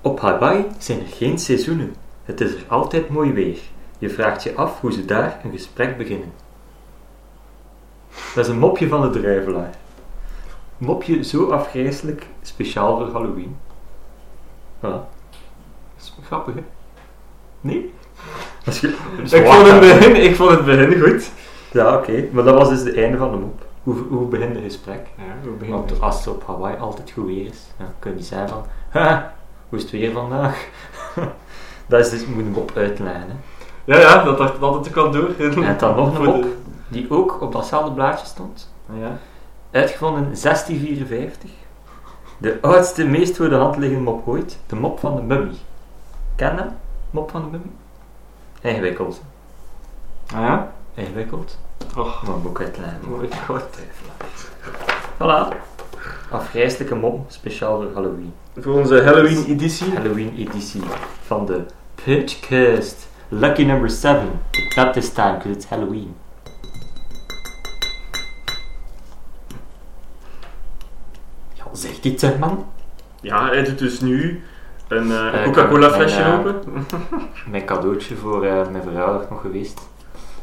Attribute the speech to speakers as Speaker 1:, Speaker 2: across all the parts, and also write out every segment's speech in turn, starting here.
Speaker 1: Op Hawaii zijn er geen seizoenen. Het is er altijd mooi weer. Je vraagt je af hoe ze daar een gesprek beginnen. Dat is een mopje van de druivelaar. Mopje zo afgrijselijk, speciaal voor Halloween. Voilà. Dat is grappig, hè? Nee? Als je- ik, vond het begin, ik vond het begin goed. Ja, oké. Maar dat was dus het einde van de mop. Hoe, hoe begint een gesprek?
Speaker 2: Ja, we beginnen.
Speaker 1: Want als het op Hawaii altijd goed weer is, dan kun je niet zeggen van, ha, hoe is het weer vandaag? dat is dus, je moet een mop uitleggen. Hè.
Speaker 2: Ja, ja, dat dacht ik altijd ook al door.
Speaker 1: En dan nog een
Speaker 2: Voor
Speaker 1: mop,
Speaker 2: de-
Speaker 1: die ook op datzelfde blaadje stond.
Speaker 2: Ah, Ja.
Speaker 1: Uitgevonden in 1654. De oudste, meest voor de hand liggende mop ooit. De mop van de mummy. Ken je hem? Mop van de mummy? Ingewikkeld.
Speaker 2: Ah ja?
Speaker 1: Ingewikkeld.
Speaker 2: Och,
Speaker 1: Maar ook uitleggen.
Speaker 2: mooi kort.
Speaker 1: Voilà. Afgrijselijke mop, speciaal voor Halloween.
Speaker 2: Voor onze Halloween-editie.
Speaker 1: Halloween editie van de Pitchcast. Lucky number 7. Not this time, because it's Halloween. Ja, zeg dit zeg man.
Speaker 2: Ja, hij doet dus nu een eh, een
Speaker 1: Eh,
Speaker 2: Coca-Cola flesje
Speaker 1: en, eh,
Speaker 2: open.
Speaker 1: Mijn cadeautje voor eh, mijn verjaardag nog geweest.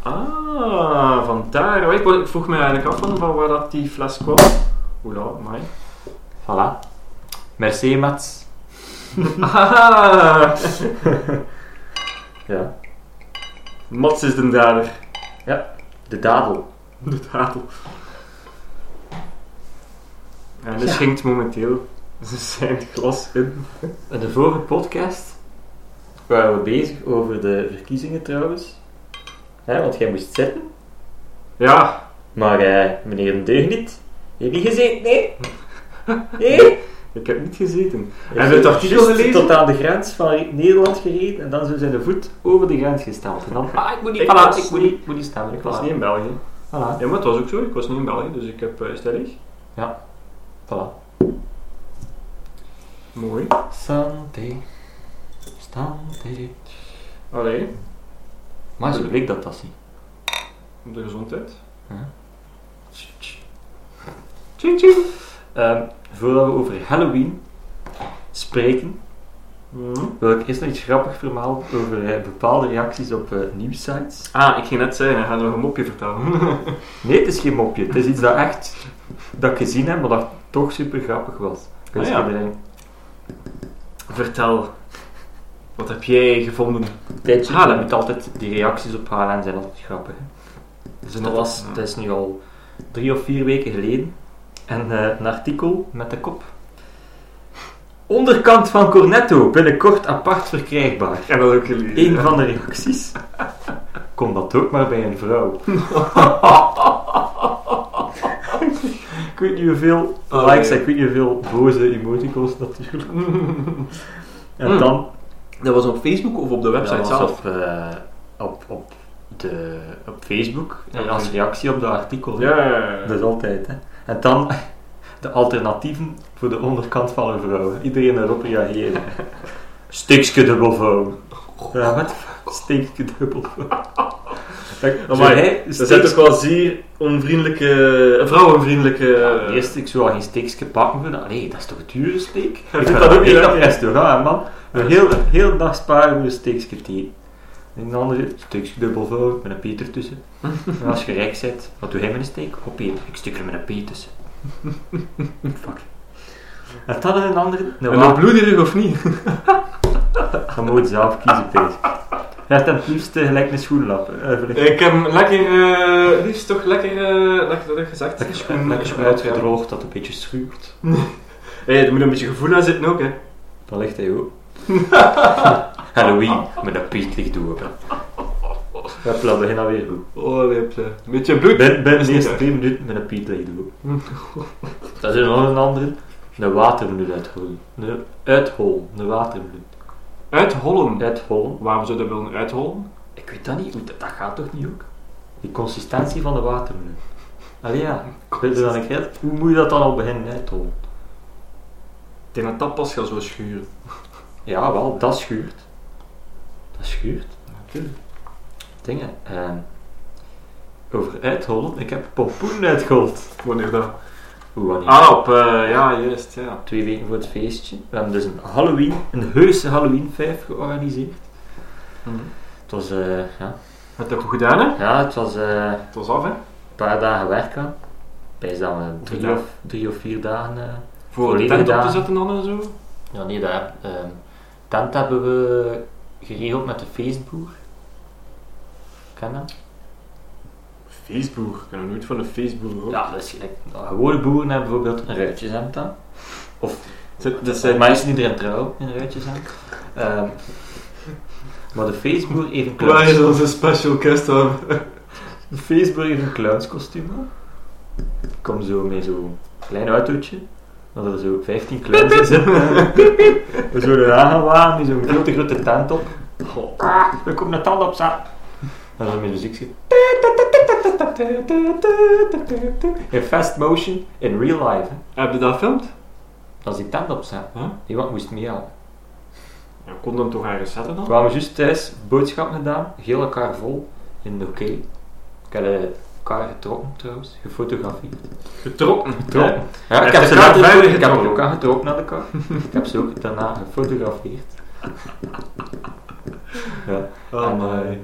Speaker 2: Ah, vandaar. Maar Ik wou- ik vroeg me eigenlijk af van van waar dat die fles kwam. Oula, maar.
Speaker 1: Voilà. Merci Mats.
Speaker 2: Ah,
Speaker 1: Ja.
Speaker 2: Mats is de dader.
Speaker 1: De dadel.
Speaker 2: De dadel. En dus schenkt momenteel zijn glas in.
Speaker 1: In de vorige podcast waren we bezig over de verkiezingen trouwens. Hè, want jij moest zitten.
Speaker 2: Ja,
Speaker 1: Maar eh, meneer de Deugniet, heb je niet gezeten, nee? Nee?
Speaker 2: ik heb niet gezeten.
Speaker 1: Hij
Speaker 2: Heb je het artikel
Speaker 1: juist
Speaker 2: gelezen?
Speaker 1: Tot aan de grens van Nederland gereden en dan zo zijn de voet over de grens gesteld. En dan, ah, ik moet niet,
Speaker 2: Ik
Speaker 1: voilà,
Speaker 2: was
Speaker 1: ik moet
Speaker 2: niet-
Speaker 1: niet, ik moet niet staan.
Speaker 2: Ik was niet in België.
Speaker 1: Voilà,
Speaker 2: Ja, maar het was ook zo. Ik was niet in België, dus ik heb eh, is dat leeg?
Speaker 1: voilà.
Speaker 2: Mooi.
Speaker 1: Santé. Santé.
Speaker 2: Allee,
Speaker 1: Maar zo bleek dat dat niet.
Speaker 2: op de gezondheid.
Speaker 1: Ja.
Speaker 2: Tjing tjing.
Speaker 1: Ehm, voordat we over Halloween spreken,
Speaker 2: Mhm.
Speaker 1: wil ik eerst nog iets grappig verhaal over eh, bepaalde reacties op eh, nieuwsites.
Speaker 2: Ah, ik ging net zeggen, hij gaat nog een mopje vertellen.
Speaker 1: Nee, het is geen mopje. Het is iets dat echt dat ik gezien heb, maar dat toch super grappig was.
Speaker 2: Ah,
Speaker 1: Dus
Speaker 2: ja.
Speaker 1: iedereen-
Speaker 2: Vertel, wat heb jij gevonden?
Speaker 1: Tijdje
Speaker 2: Halen.
Speaker 1: moet altijd die reacties op HLN zijn altijd grappig. hè. Dus dat, was, dat is nu al drie of vier weken geleden. En eh, een artikel met de kop. Onderkant van Cornetto, binnenkort apart verkrijgbaar.
Speaker 2: Ik heb dat ook gelezen.
Speaker 1: Eén van de reacties. Kom dat ook maar bij een vrouw. ik weet niet hoeveel
Speaker 2: Oh,
Speaker 1: likes,
Speaker 2: nee.
Speaker 1: en ik weet niet hoeveel boze emoticons natuurlijk. En
Speaker 2: Hmm.
Speaker 1: dan
Speaker 2: Dat was op Facebook of op de website
Speaker 1: dat was
Speaker 2: zelf?
Speaker 1: Op, eh, op, op, de, op Facebook.
Speaker 2: Ja,
Speaker 1: en als
Speaker 2: oké.
Speaker 1: reactie op dat artikel. hè.
Speaker 2: Ja, ja, ja.
Speaker 1: Dat is dus altijd, hè. En dan de alternatieven voor de onderkant van een vrouw. hè. Iedereen daarop reageren. Stikske dubbelvouw. Ja, wat? Stikske dubbelvouw.
Speaker 2: Amai,
Speaker 1: Zo, hè,
Speaker 2: dat zijn
Speaker 1: stikske-
Speaker 2: toch wel zeer onvriendelijke, vrouwenvriendelijke...
Speaker 1: Ja, Eerst, ik zou al geen steekje pakken voor dat. Allee, dat is toch een dure steek?
Speaker 2: Ja,
Speaker 1: ik
Speaker 2: dat
Speaker 1: ga
Speaker 2: ook
Speaker 1: dat ook
Speaker 2: niet,
Speaker 1: niet
Speaker 2: hè?
Speaker 1: op restaurant, man. We
Speaker 2: dat is
Speaker 1: heel,
Speaker 2: waar.
Speaker 1: heel de dag sparen voor een steekje thee. En de andere, steekje dubbelvouw, met een peter tussen. en als je rijk bent, wat doe jij met een steek? Op peter. Ik stuk er met een peter tussen. Fuck. En dat en een andere... Nou,
Speaker 2: En
Speaker 1: wa-
Speaker 2: dan bloederig eh, of niet?
Speaker 1: je moet zelf kiezen, Peter. Je hebt het liefst eh, gelijk een schoenlap. eh, voor de-
Speaker 2: Ik heb hem lekker, eh, liefst toch lekker, eh, lekker dat heb ik gezegd. Eh,
Speaker 1: Lekker
Speaker 2: En-
Speaker 1: schoen, lekker schoen
Speaker 2: ja.
Speaker 1: uitgedroogd, dat een beetje schuurt.
Speaker 2: Hey, er moet een beetje gevoel aan zitten ook, hè.
Speaker 1: Dan ligt hij ook. Halloween, met dat piet ligt open. Hup, dat begint alweer goed.
Speaker 2: Oh, lipje. Een beetje bloed.
Speaker 1: Ben, ben
Speaker 2: Is
Speaker 1: de
Speaker 2: niet
Speaker 1: eerste
Speaker 2: erg.
Speaker 1: twee minuten met een piet ligt open. Dat is nog een andere. Een watermeloen uithollen. Een uithol, een watermeloen.
Speaker 2: Uithollen.
Speaker 1: Uithollen.
Speaker 2: Waarom zou dat willen uithollen?
Speaker 1: Ik weet dat niet, hoe dat, dat gaat toch niet ook? Die consistentie van de watermeloen. Allee ja, weet je dan ik het? Hoe moet je dat dan al beginnen uithollen?
Speaker 2: Ik denk dat dat pas gaat zo schuren.
Speaker 1: Ja, wel, dat schuurt. Dat schuurt.
Speaker 2: Natuurlijk.
Speaker 1: dingen. ehm, over uithollen. Ik heb pompoen uitgehold.
Speaker 2: Wanneer dat?
Speaker 1: Hoe wanneer?
Speaker 2: Ah, op, eh, ja, juist, ja.
Speaker 1: Twee weken voor het feestje. We hebben dus een Halloween, een heuse Halloween 5 georganiseerd. Het was, eh, ja.
Speaker 2: Heb je dat goed gedaan, hè?
Speaker 1: ja, het was eh,
Speaker 2: Het was af, hè?
Speaker 1: een paar dagen werk aan. Bijs dat we drie
Speaker 2: dagen?
Speaker 1: of, drie of vier dagen. eh,
Speaker 2: Voor de
Speaker 1: Volledige
Speaker 2: tent op te
Speaker 1: dagen.
Speaker 2: zetten dan en zo.
Speaker 1: Ja, nee, daar. ehm tent hebben we geregeld met de feestboer. Ken je dat?
Speaker 2: Facebook, ik kan nooit van een Facebook hoor.
Speaker 1: Ja, dat is gelijk. Nou, gewone boeren hebben bijvoorbeeld een ruitjeshemd aan.
Speaker 2: Zit- Dus,
Speaker 1: Zijn
Speaker 2: eh,
Speaker 1: mensen die erin trouwen, in een ruitjeshemd. Ehm, maar de feestboer heeft een
Speaker 2: Waar is
Speaker 1: clowns,
Speaker 2: onze special guest dan?
Speaker 1: de feestboer heeft een clownskostuum aan. Kom zo met zo'n klein autootje. Dat er zo 15 clowns in zitten. We zullen aangewaan, met zo'n grote, grote tent op. Goh, ah, er komt een tand op, zat. En dan met muziekje. In fast motion, in real life. hè.
Speaker 2: Heb je dat gefilmd?
Speaker 1: Dat is die tent op, zat.
Speaker 2: Huh?
Speaker 1: Die wat moest mee halen.
Speaker 2: Ja, kon hem toch ergens zetten
Speaker 1: We
Speaker 2: dan?
Speaker 1: kwamen juist thuis, boodschap gedaan, heel elkaar vol in de hockey. Ik heb eh, elkaar getrokken trouwens, gefotografeerd.
Speaker 2: Getrokken.
Speaker 1: Getrokken. Ja,
Speaker 2: Hij
Speaker 1: ik heb
Speaker 2: heeft
Speaker 1: ze
Speaker 2: de kaart
Speaker 1: later
Speaker 2: verder
Speaker 1: getrokken. Ik heb er
Speaker 2: getrokken.
Speaker 1: ook aan getrokken naar de kar. ik heb ze ook daarna gefotografeerd. Ja. En, eh,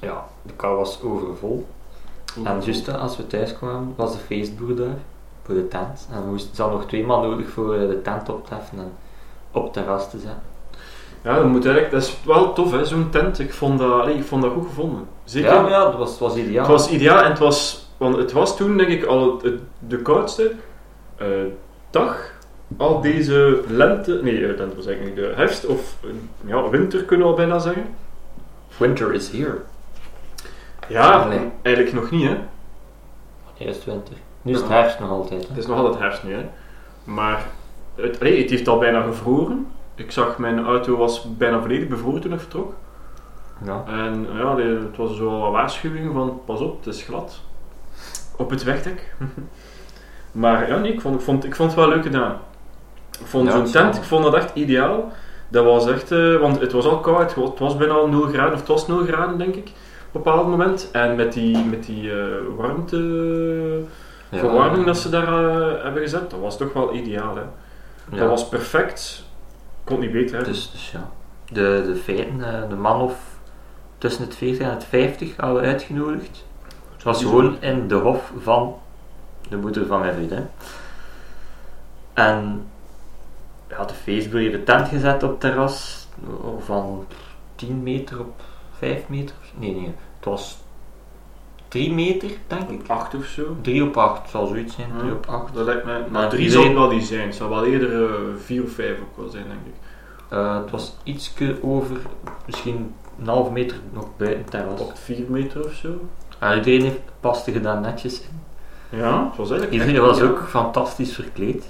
Speaker 1: ja, de kar was overvol. En juist eh, als we thuis kwamen, was de feestboer daar voor de tent. En we moesten zelf nog twee man nodig voor eh, de tent op te heffen en op het terras te zetten.
Speaker 2: Ja, dat moet eigenlijk. Dat is wel tof, hè, zo'n tent. Ik vond dat, allee, ik vond dat goed gevonden. Zeker.
Speaker 1: Ja, maar ja, dat was, het was ideaal.
Speaker 2: Het was ideaal en het was, want het was toen denk ik al het- het- de koudste eh, dag. Al deze lente, nee, eh, lente was eigenlijk niet de herfst of eh, ja, winter kunnen we al bijna zeggen.
Speaker 1: Winter is here.
Speaker 2: Ja,
Speaker 1: Nee.
Speaker 2: eigenlijk nog niet, hè?
Speaker 1: Eerst winter. Nu is het
Speaker 2: Ja.
Speaker 1: herfst nog altijd.
Speaker 2: Het
Speaker 1: Hè?
Speaker 2: is nog altijd herfst nu, hè? Maar het, allee, het heeft al bijna gevroren. Ik zag mijn auto was bijna volledig bevroren toen ik vertrok.
Speaker 1: Ja.
Speaker 2: En ja, de- het was zo wel een waarschuwing van pas op, het is glad. Op het wegdek. maar ja, nee, ik vond, ik, vond, ik vond het wel leuk gedaan. Ik vond
Speaker 1: Ja,
Speaker 2: zo'n
Speaker 1: het is wel-
Speaker 2: tent, ik vond dat echt ideaal. Dat was echt, eh, want het was al koud, het wa- het was bijna al 0 graden, of het was 0 graden denk ik, op een bepaald moment. En met die, met die eh, warmte,
Speaker 1: Ja.
Speaker 2: verwarming dat ze daar eh, hebben gezet, dat was toch wel ideaal hè.
Speaker 1: Ja.
Speaker 2: Dat was perfect, kon niet beter hè.
Speaker 1: Dus, dus ja. De, de feiten, eh, de man of tussen het 40 en het 50 hadden we uitgenodigd. Het was gewoon in de hof van de moeder van mijn vriendin. En ja, de Facebook heeft een tent gezet op het terras eh, van 10 meter op 5 meter. Nee, nee, het was 3 meter, denk ik.
Speaker 2: Acht of zo.
Speaker 1: 3 op 8 zal zoiets zijn,
Speaker 2: Ja.
Speaker 1: 3 op 8.
Speaker 2: Dat lijkt mij. Maar
Speaker 1: Maar
Speaker 2: drie
Speaker 1: iedereen-
Speaker 2: zou het wel niet zijn. Het zou wel eerder eh, vier of vijf ook wel zijn, denk ik.
Speaker 1: Eh, het was ietske over, misschien een halve meter nog buiten het terras.
Speaker 2: Op vier meter of zo.
Speaker 1: Ah, iedereen heeft paste gedaan netjes. in.
Speaker 2: Ja, het was eigenlijk.
Speaker 1: Iedereen
Speaker 2: echt-
Speaker 1: was
Speaker 2: ja.
Speaker 1: ook fantastisch verkleed.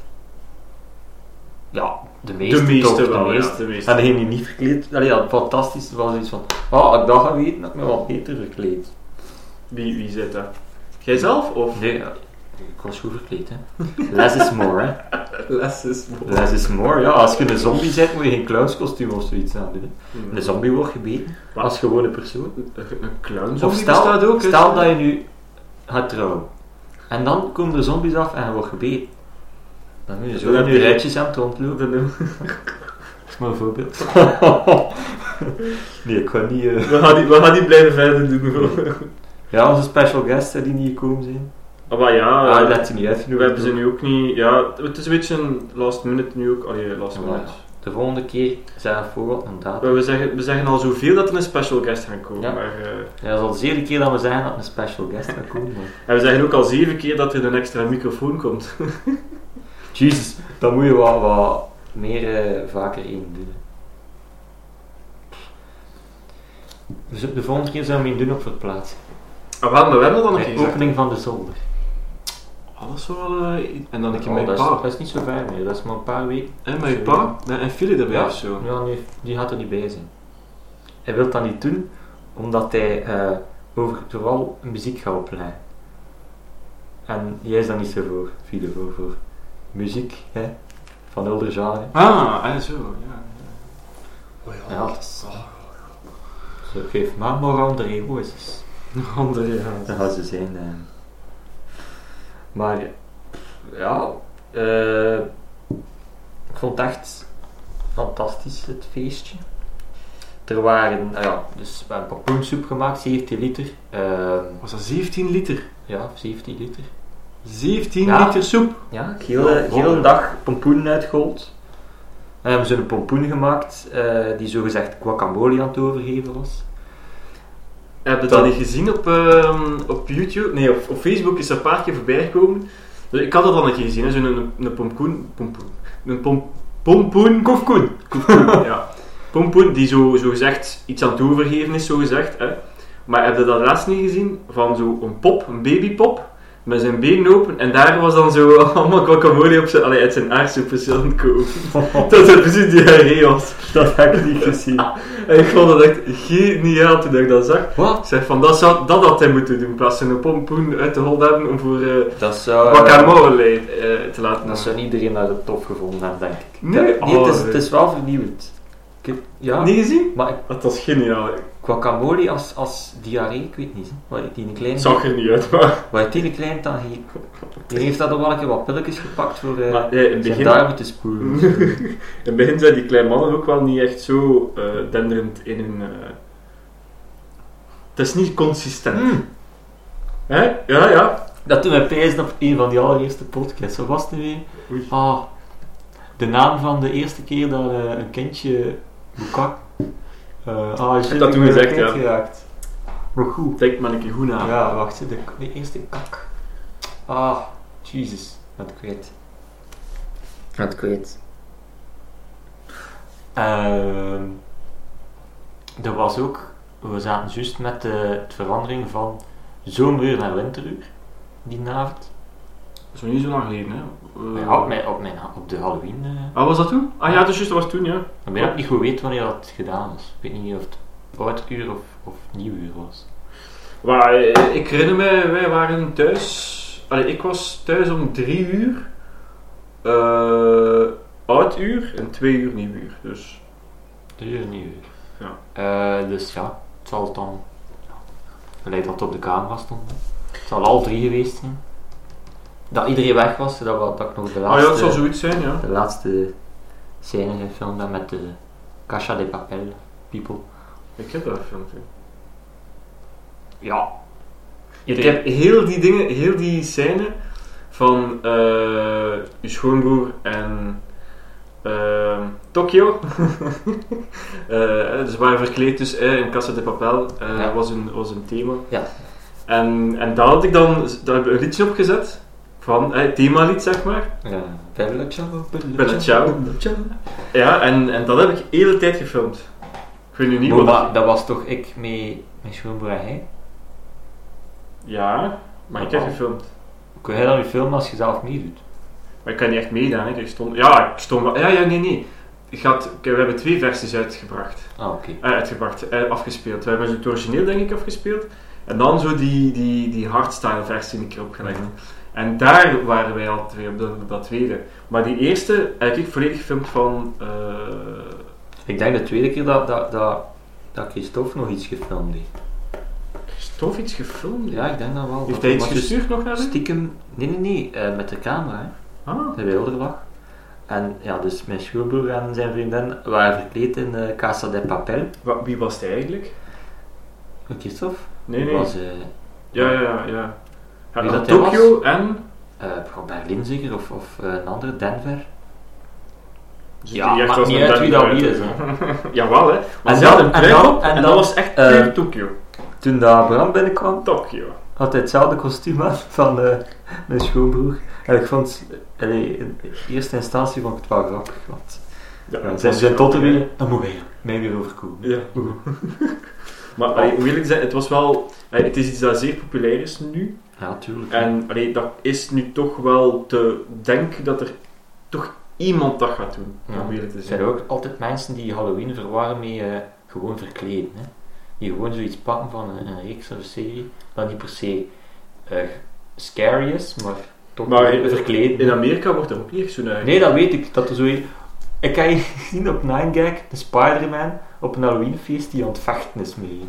Speaker 1: Ja, de meeste
Speaker 2: De meeste
Speaker 1: toch,
Speaker 2: wel,
Speaker 1: de
Speaker 2: ja,
Speaker 1: nou, meeste.
Speaker 2: de meeste.
Speaker 1: En degene die niet verkleed, allee, ja, fantastisch was iets van, ah, had ik dat gaan weten, had ik me wat beter verkleed.
Speaker 2: Wie, wie zit daar? Jijzelf of?
Speaker 1: Nee, ja, ik was goed verkleed, hè. Less is more, hè.
Speaker 2: Les is mo-
Speaker 1: Less is more, ja. Als je een zombie bent, moet je geen clownskostuum of zoiets aan doen. hè.
Speaker 2: Hmm.
Speaker 1: Een zombie wordt gebeten,
Speaker 2: Wat?
Speaker 1: als gewone persoon.
Speaker 2: Een een clown
Speaker 1: Of
Speaker 2: zombie
Speaker 1: stel,
Speaker 2: bestaat ook. hè.
Speaker 1: stel dat je nu gaat trouwen. En dan komen de zombies af en je wordt gebeten. Dan moet je zo
Speaker 2: Dan
Speaker 1: in
Speaker 2: heb
Speaker 1: je
Speaker 2: je-
Speaker 1: rijtjes aan het rondlopen.
Speaker 2: Dan doen we-
Speaker 1: Dat is maar een voorbeeld. nee, ik kan niet... eh.
Speaker 2: We gaan, die, we gaan die blijven verder doen.
Speaker 1: Ja, onze special guests hè, die niet gekomen zijn.
Speaker 2: Ah, maar ja,
Speaker 1: Ah,
Speaker 2: eh,
Speaker 1: dat had ze niet
Speaker 2: we
Speaker 1: uitgenodigd.
Speaker 2: hebben ze nu ook niet. Ja, het is een beetje een last minute nu ook. Allee, last
Speaker 1: Ja,
Speaker 2: minute.
Speaker 1: De volgende keer zijn we voor wat een datum.
Speaker 2: Maar we zeggen, we zeggen al zoveel dat er een special guest gaan komen.
Speaker 1: Ja.
Speaker 2: Maar, eh,
Speaker 1: Ja, dat is al de zevende keer dat we zeggen dat er een special guest gaat komen. maar-
Speaker 2: en we zeggen ook al zeven keer dat er een extra microfoon komt.
Speaker 1: Jezus, dan moet je wat, wat meer eh, vaker één doen. hè. Dus op de volgende keer zijn we één doen op verplaatsen.
Speaker 2: Ah, wel, maar we hebben dat dan
Speaker 1: Bij
Speaker 2: een keer
Speaker 1: de
Speaker 2: gezegd.
Speaker 1: opening van de zolder.
Speaker 2: Alles zo wel... eh, i- en dan een keer
Speaker 1: Oh,
Speaker 2: mijn
Speaker 1: dat, is,
Speaker 2: pa.
Speaker 1: dat is niet zo ver meer, dat is maar een paar weken.
Speaker 2: En mijn pa. Nee, en Philly erbij
Speaker 1: Ja.
Speaker 2: of zo.
Speaker 1: Ja, nee, die gaat er niet bij zijn. Hij wil dat niet doen, omdat hij eh, over vooral muziek gaat opleiden. En jij is daar niet zo voor, Fide, voor, voor muziek, hè, van elder genre.
Speaker 2: Ah, en zo, ja. Oh
Speaker 1: Ja, dat is... Zo, geef maar maar andere roosjes.
Speaker 2: Andere, ja.
Speaker 1: Dat gaan ze zijn. eh. Maar, eh, ja, eh, ik vond het echt fantastisch, het feestje. Er waren, nou ja, dus we hebben pompoensoep gemaakt, 17 liter. eh,
Speaker 2: Was dat 17 liter?
Speaker 1: ja, 17 liter.
Speaker 2: 17
Speaker 1: Ja.
Speaker 2: liter soep?
Speaker 1: Ja, ik heel, eh, heel een dag pompoenen uitgehold. En hebben ze een pompoen gemaakt eh die zogezegd guacamole aan het overgeven was.
Speaker 2: Heb je
Speaker 1: Dat-
Speaker 2: dat niet gezien op, ehm, op YouTube? Nee, op, op Facebook is dat een paar keer voorbij gekomen. Dus ik had dat al een keer gezien, hè. zo'n een, een pompoen... Pompoen... Een pom, pompoen... Koefkoen! ja. Pompoen die zo, zo gezegd iets aan het overgeven is, zo gezegd. Hè. Maar heb je dat laatst niet gezien? Van zo'n pop, een babypop, met zijn benen open. En daar was dan zo allemaal guacamole op zijn... Allee, uit zijn aardsoep aan het komen. Dat is precies diarree was.
Speaker 1: dat heb ik niet gezien.
Speaker 2: En ik vond dat echt geniaal toen ik dat zag. Ik
Speaker 1: Wat?
Speaker 2: zeg van, dat, zou, dat had hij moeten doen, in plaats van een pompoen uit de hol hebben om voor eh
Speaker 1: Dat zou,
Speaker 2: guacamole eh, te laten
Speaker 1: Ah, dat zou iedereen naar de top gevonden hebben, denk ik.
Speaker 2: Nee,
Speaker 1: Dat- nee het, is,
Speaker 2: oh, eh,
Speaker 1: het is wel vernieuwend. Ik heb- ja,
Speaker 2: Niet gezien?
Speaker 1: maar ik-
Speaker 2: Dat was geniaal. hè.
Speaker 1: guacamole als, als diarree, ik weet niet. hè. Wat die een kleine,
Speaker 2: Het zag er niet uit, maar...
Speaker 1: wat die een kleine dan heeft. Die heeft dat al wel een keer wat pilletjes gepakt voor eh
Speaker 2: maar eh, in,
Speaker 1: zijn
Speaker 2: het begin,
Speaker 1: darmen te spoelen.
Speaker 2: in het begin zijn die kleine mannen ook wel niet echt zo eh, denderend in hun... eh, Het is niet consistent.
Speaker 1: Mm.
Speaker 2: Hè? Ja, ja.
Speaker 1: Dat toen we pijzen op een van die allereerste podcasts. Wat was het nu weer?
Speaker 2: Oei.
Speaker 1: Ah, de naam van de eerste keer dat eh, een kindje Boekak. Uh, ah, shit,
Speaker 2: dat
Speaker 1: ik
Speaker 2: toen
Speaker 1: ben
Speaker 2: gezegd,
Speaker 1: een kind
Speaker 2: ja.
Speaker 1: geraakt. Maar goed.
Speaker 2: Denk maar een keer goed na.
Speaker 1: Ja, wacht, de, de eerste kak. Ah, Jesus, dat kwijt. Dat kwijt. Ehm er was ook, we zaten juist met de het verandering van zomeruur naar winteruur, die avond.
Speaker 2: Dat is nog niet zo lang geleden, hè. Eh,
Speaker 1: Ja, op, mijn, op, mijn, op de Halloween. eh.
Speaker 2: Ah, was dat toen? Ah ja, dus juist, dat was toen, ja.
Speaker 1: Ik ben ook niet goed weet wanneer dat gedaan is. Ik weet niet of het oud uur of, of nieuw uur was.
Speaker 2: Maar eh, ik herinner me, wij waren thuis. Allee, ik was thuis om drie uur. eh oud uur en twee uur nieuw uur. Dus
Speaker 1: Drie uur, nieuw uur.
Speaker 2: Ja.
Speaker 1: Eh, dus ja, het zal dan. Gelijk dat het op de camera stond. hè. Het zal al drie geweest zijn. Dat iedereen weg was, dat, wa- dat ik nog de
Speaker 2: ah ja, het
Speaker 1: laatste,
Speaker 2: zal zoiets zijn, ja.
Speaker 1: de laatste scène gefilmd heb met de Casa de Papel people.
Speaker 2: Ik heb dat filmpje.
Speaker 1: Ja.
Speaker 2: Ik heb heel die dingen, heel die scène van eh uw schoonbroer en eh, Tokio. Eh, dus ze waren verkleed dus eh, in Casa de Papel. eh,
Speaker 1: Ja.
Speaker 2: was, een, was een thema.
Speaker 1: Ja.
Speaker 2: En, en daar had ik dan daar heb ik een liedje op gezet. Van eh, het themalied, zeg maar.
Speaker 1: Ja, Bella ciao,
Speaker 2: Bella ciao. Ja, en, en dat heb ik de hele tijd gefilmd. Ik weet nu niet
Speaker 1: Maar
Speaker 2: wat...
Speaker 1: wa- dat was toch ik mee, mijn schoonbroer en hij?
Speaker 2: Ja, maar ik heb gefilmd.
Speaker 1: Kun jij dan niet filmen als je zelf niet doet?
Speaker 2: Maar ik kan niet echt meedaan. hè. Ik stond, ja, ik stond wel. Ja, ja, nee, nee. Ik had, ik- we hebben twee versies uitgebracht.
Speaker 1: Ah, oké.
Speaker 2: Eh, uitgebracht, eh, afgespeeld. We hebben zo het origineel, denk ik, afgespeeld. En dan zo die, die, die hardstyle versie een keer opgelegd.
Speaker 1: Mhm.
Speaker 2: En daar waren wij al twee op, dat- op dat tweede. Maar die eerste heb ik volledig gefilmd van. eh,
Speaker 1: Ik denk de tweede keer dat, dat, dat, dat Christophe nog iets gefilmd heeft.
Speaker 2: is tof iets gefilmd?
Speaker 1: Ja, ik denk dat wel.
Speaker 2: Heeft
Speaker 1: Dat
Speaker 2: hij iets
Speaker 1: was dus
Speaker 2: gestuurd nog naar u?
Speaker 1: Stiekem, nee, nee, nee, eh, met de camera, hè.
Speaker 2: Ah,
Speaker 1: de wilderlag. En ja, dus mijn schoonbroer en zijn vriendin waren verkleed in eh, Casa de Papel.
Speaker 2: wa- wie was hij eigenlijk?
Speaker 1: Christophe
Speaker 2: Nee, nee.
Speaker 1: was eh
Speaker 2: Ja, ja, ja. ja. Ja,
Speaker 1: Wie dat hij
Speaker 2: Tokio en.
Speaker 1: eh, van Berlin zeker, of, of eh, een andere, Denver.
Speaker 2: Ziet er
Speaker 1: maakt
Speaker 2: als
Speaker 1: niet
Speaker 2: een
Speaker 1: uit wie dat
Speaker 2: Denver
Speaker 1: wie
Speaker 2: uit,
Speaker 1: is,
Speaker 2: hè. Jawel, hè. Want
Speaker 1: En
Speaker 2: ze
Speaker 1: dan-
Speaker 2: had een
Speaker 1: en
Speaker 2: pruik
Speaker 1: dan-
Speaker 2: op
Speaker 1: en
Speaker 2: en
Speaker 1: dan-
Speaker 2: dat was echt
Speaker 1: eh,
Speaker 2: puur Tokio.
Speaker 1: Toen dat Bram binnenkwam,
Speaker 2: Tokio.
Speaker 1: had hij hetzelfde kostuum aan van eh, mijn schoonbroer. En ik vond, allee, in eerste instantie vond ik het wel grappig, want Ja,
Speaker 2: dat
Speaker 1: zijn
Speaker 2: was
Speaker 1: zijn
Speaker 2: grappig,
Speaker 1: totten
Speaker 2: hè.
Speaker 1: weer, dan moet wij mij weer overkomen.
Speaker 2: Ja. Maar allee, hoe eerlijk zijn, het was wel... allee, het is iets dat zeer populair is nu.
Speaker 1: Ja, tuurlijk.
Speaker 2: En allee, dat is nu toch wel te... Denk dat er toch iemand dat gaat doen.
Speaker 1: Ja.
Speaker 2: Om eerlijk te
Speaker 1: er
Speaker 2: zijn.
Speaker 1: zijn ook altijd mensen die Halloween verwarren met eh, gewoon verkleden. Hè? Die gewoon zoiets pakken van een, een reeks of een serie, dat niet per se eh, scary is, maar toch
Speaker 2: Maar
Speaker 1: wel
Speaker 2: in-
Speaker 1: verkleed.
Speaker 2: In Amerika wordt er ook niet echt zo naar...
Speaker 1: Nee, dat weet ik. Dat er zo een- ik heb je gezien op Nine Gag, de Spider-Man, op een Halloweenfeest die aan het vechten is mee.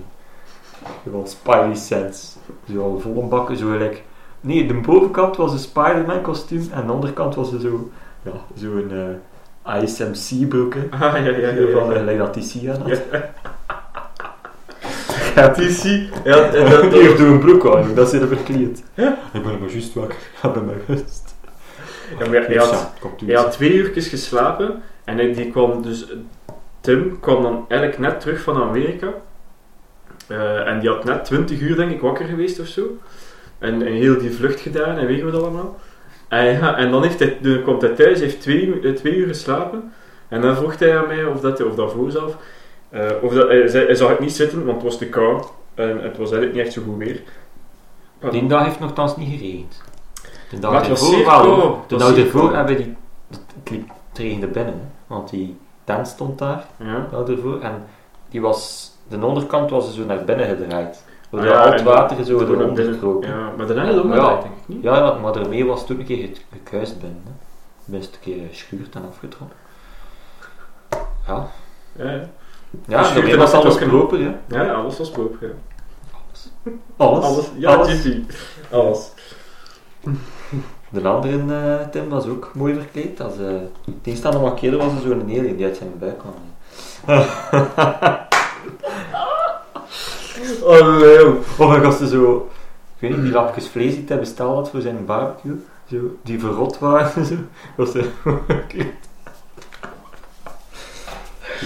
Speaker 1: Gewoon Spidey Sense. Zo al volle bakken, zo gelijk Nee, de bovenkant was een Spider-Man kostuum en de onderkant was er zo, ja, zo'n eh ISMC broeken.
Speaker 2: Ah, ja, ja, ja.
Speaker 1: Zo van, eh,
Speaker 2: ja,
Speaker 1: lijkt dat TC aan had.
Speaker 2: Ja.
Speaker 1: Ja,
Speaker 2: TC. Ja, en
Speaker 1: dat
Speaker 2: dat,
Speaker 1: die heeft een broek aan, dat zit er verkleed.
Speaker 2: Ja.
Speaker 1: Ik ben maar juist wakker. Ik ben maar rust.
Speaker 2: ja, maar hij had, hij had twee uurtjes geslapen en hij, die kwam dus... Tim kwam dan eigenlijk net terug van Amerika. Eh, en die had net 20 uur, denk ik, wakker geweest of zo. En, en heel die vlucht gedaan en weet je wat allemaal. En, ja, en dan, heeft hij, dan komt hij thuis, heeft twee, uur- eh, twee uur geslapen. En dan vroeg hij aan mij, of, dat, hij- of daarvoor zelf, eh, of dat, hij, zei- hij zag het niet zitten, want het was te koud. En het was eigenlijk niet echt zo goed weer. Pardon.
Speaker 1: Die dag heeft nogthans niet geregend. De
Speaker 2: Maar
Speaker 1: dag
Speaker 2: het was
Speaker 1: ervoor
Speaker 2: zeer
Speaker 1: wel.
Speaker 2: koud.
Speaker 1: hoor.
Speaker 2: Het
Speaker 1: De
Speaker 2: was
Speaker 1: dag
Speaker 2: zeer
Speaker 1: ervoor
Speaker 2: koud.
Speaker 1: hebben die... Het liep- het regende binnen, hè, want die tent stond daar.
Speaker 2: Ja.
Speaker 1: Nou, ervoor. En die was, de onderkant was zo naar binnen gedraaid. Door
Speaker 2: Ah ja,
Speaker 1: al het
Speaker 2: en
Speaker 1: water zo
Speaker 2: door naar
Speaker 1: eronder
Speaker 2: binnen.
Speaker 1: gekropen. Ja.
Speaker 2: ja, maar daarna is ook
Speaker 1: Ja.
Speaker 2: wel, denk ik niet.
Speaker 1: ja, maar daarmee was het toen een keer ge- gekuist binnen. Hè. Best een keer geschuurd en afgetrokken. Ja,
Speaker 2: Ja, ja.
Speaker 1: ja
Speaker 2: Geschuurd
Speaker 1: daarmee
Speaker 2: en
Speaker 1: was alles
Speaker 2: afgetrokken.
Speaker 1: gelopen. Ja.
Speaker 2: Ja, ja, alles was boop. Ja.
Speaker 1: Alles.
Speaker 2: Ja,
Speaker 1: Alles.
Speaker 2: Jitty. Alles.
Speaker 1: De andere eh, Tim was ook mooi verkleed. Als, eh tegenstander markeerde was er zo'n alien die uit zijn buik kwam.
Speaker 2: Oh, nee, joh.
Speaker 1: Of hij was er zo, ik weet niet,
Speaker 2: Mm.
Speaker 1: die lapjes vlees die hij besteld had voor zijn barbecue, zo, die verrot waren. Zo. Was er, het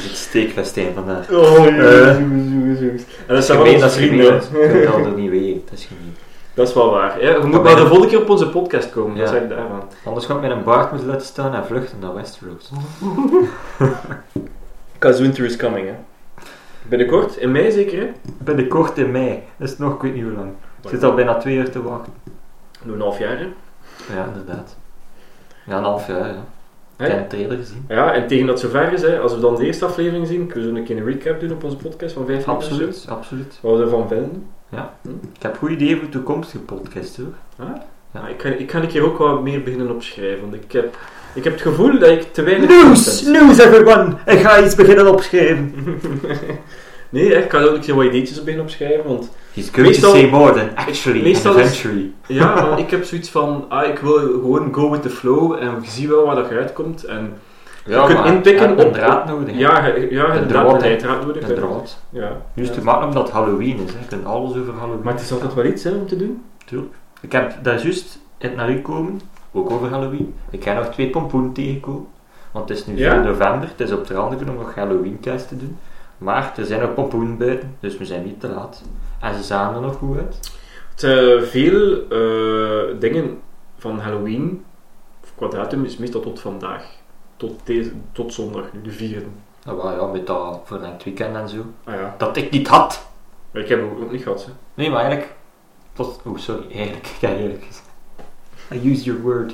Speaker 1: is het steekfestijn vandaag.
Speaker 2: Oh,
Speaker 1: Eh.
Speaker 2: jongens, jongens, jongens. En dat zijn wel
Speaker 1: Gemeen,
Speaker 2: onze
Speaker 1: dat is
Speaker 2: vrienden.
Speaker 1: gemeen.
Speaker 2: hè.
Speaker 1: Je kan dat niet weten, dat is gemeen.
Speaker 2: Dat is wel waar. Ja, je moet
Speaker 1: ben
Speaker 2: maar de
Speaker 1: ik.
Speaker 2: volgende keer op onze podcast komen. Dat
Speaker 1: Ja.
Speaker 2: zeg ik daarvan.
Speaker 1: Anders ga ik met een baard moeten laten staan en vluchten naar Westeros.
Speaker 2: Because winter is coming, hè. Binnenkort, in mei zeker, hè?
Speaker 1: Binnenkort in mei, dat is nog, ik weet niet hoe lang. Ik zit al bijna twee uur te wachten.
Speaker 2: Nog een half jaar, hè?
Speaker 1: Ja, inderdaad. Ja, een half jaar, ja. Ik
Speaker 2: Hè?
Speaker 1: heb een trailer gezien.
Speaker 2: Ja, en tegen dat het zover is, hè, als we dan de eerste aflevering zien, kunnen we een keer een recap doen op onze podcast van vijf minuten of zo.
Speaker 1: Absoluut, absoluut.
Speaker 2: Wat we ervan vinden.
Speaker 1: Ik heb goede ideeën voor toekomstige podcast hoor. Ja.
Speaker 2: Maar ik, ga, ik ga een keer ook wat meer beginnen opschrijven, want ik heb, ik heb het gevoel dat ik te weinig
Speaker 1: Nieuws,
Speaker 2: content-
Speaker 1: nieuws everyone! Ik ga iets beginnen opschrijven.
Speaker 2: Nee, echt, ik kan ook een keer wat ideetjes beginnen opschrijven, want
Speaker 1: He's going
Speaker 2: Meestal-
Speaker 1: to say more than actually
Speaker 2: Meestal
Speaker 1: and
Speaker 2: is-
Speaker 1: eventually.
Speaker 2: Ja, want ik heb zoiets van, ah, ik wil gewoon go with the flow en we zien wel waar dat je uitkomt. En je kunt inpikken
Speaker 1: ja, een
Speaker 2: op-
Speaker 1: draad nodig. hè.
Speaker 2: ja, je- ja,
Speaker 1: Een
Speaker 2: inderdaad,
Speaker 1: draad,
Speaker 2: een
Speaker 1: hè.
Speaker 2: leidraad nodig.
Speaker 1: Een draad.
Speaker 2: Ja.
Speaker 1: Nu is het te
Speaker 2: ja.
Speaker 1: makkelijk omdat het Halloween is. Hè. Je kunt alles over Halloween.
Speaker 2: Maar het is altijd wel iets hè, om te doen.
Speaker 1: Ik heb daar juist het naar u komen, ook over Halloween. Ik ga nog twee pompoenen tegenkomen. Want het is nu
Speaker 2: Ja?
Speaker 1: 4 november, het is op de randen om nog Halloween thuis te doen. Maar er zijn nog pompoenen buiten, dus we zijn niet te laat. En ze zagen er nog goed uit.
Speaker 2: Te veel eh, dingen van Halloween, of kwadratum, is meestal tot vandaag. Tot, deze, tot zondag, nu de vierde.
Speaker 1: Nou wel, ja, met dat verlengd weekend en zo.
Speaker 2: Ah ja,
Speaker 1: Dat ik niet had.
Speaker 2: maar ik heb het ook niet gehad. Hè.
Speaker 1: Nee, maar eigenlijk... Tot... Oeh, sorry. Eigenlijk. Ja, eigenlijk. I use your word.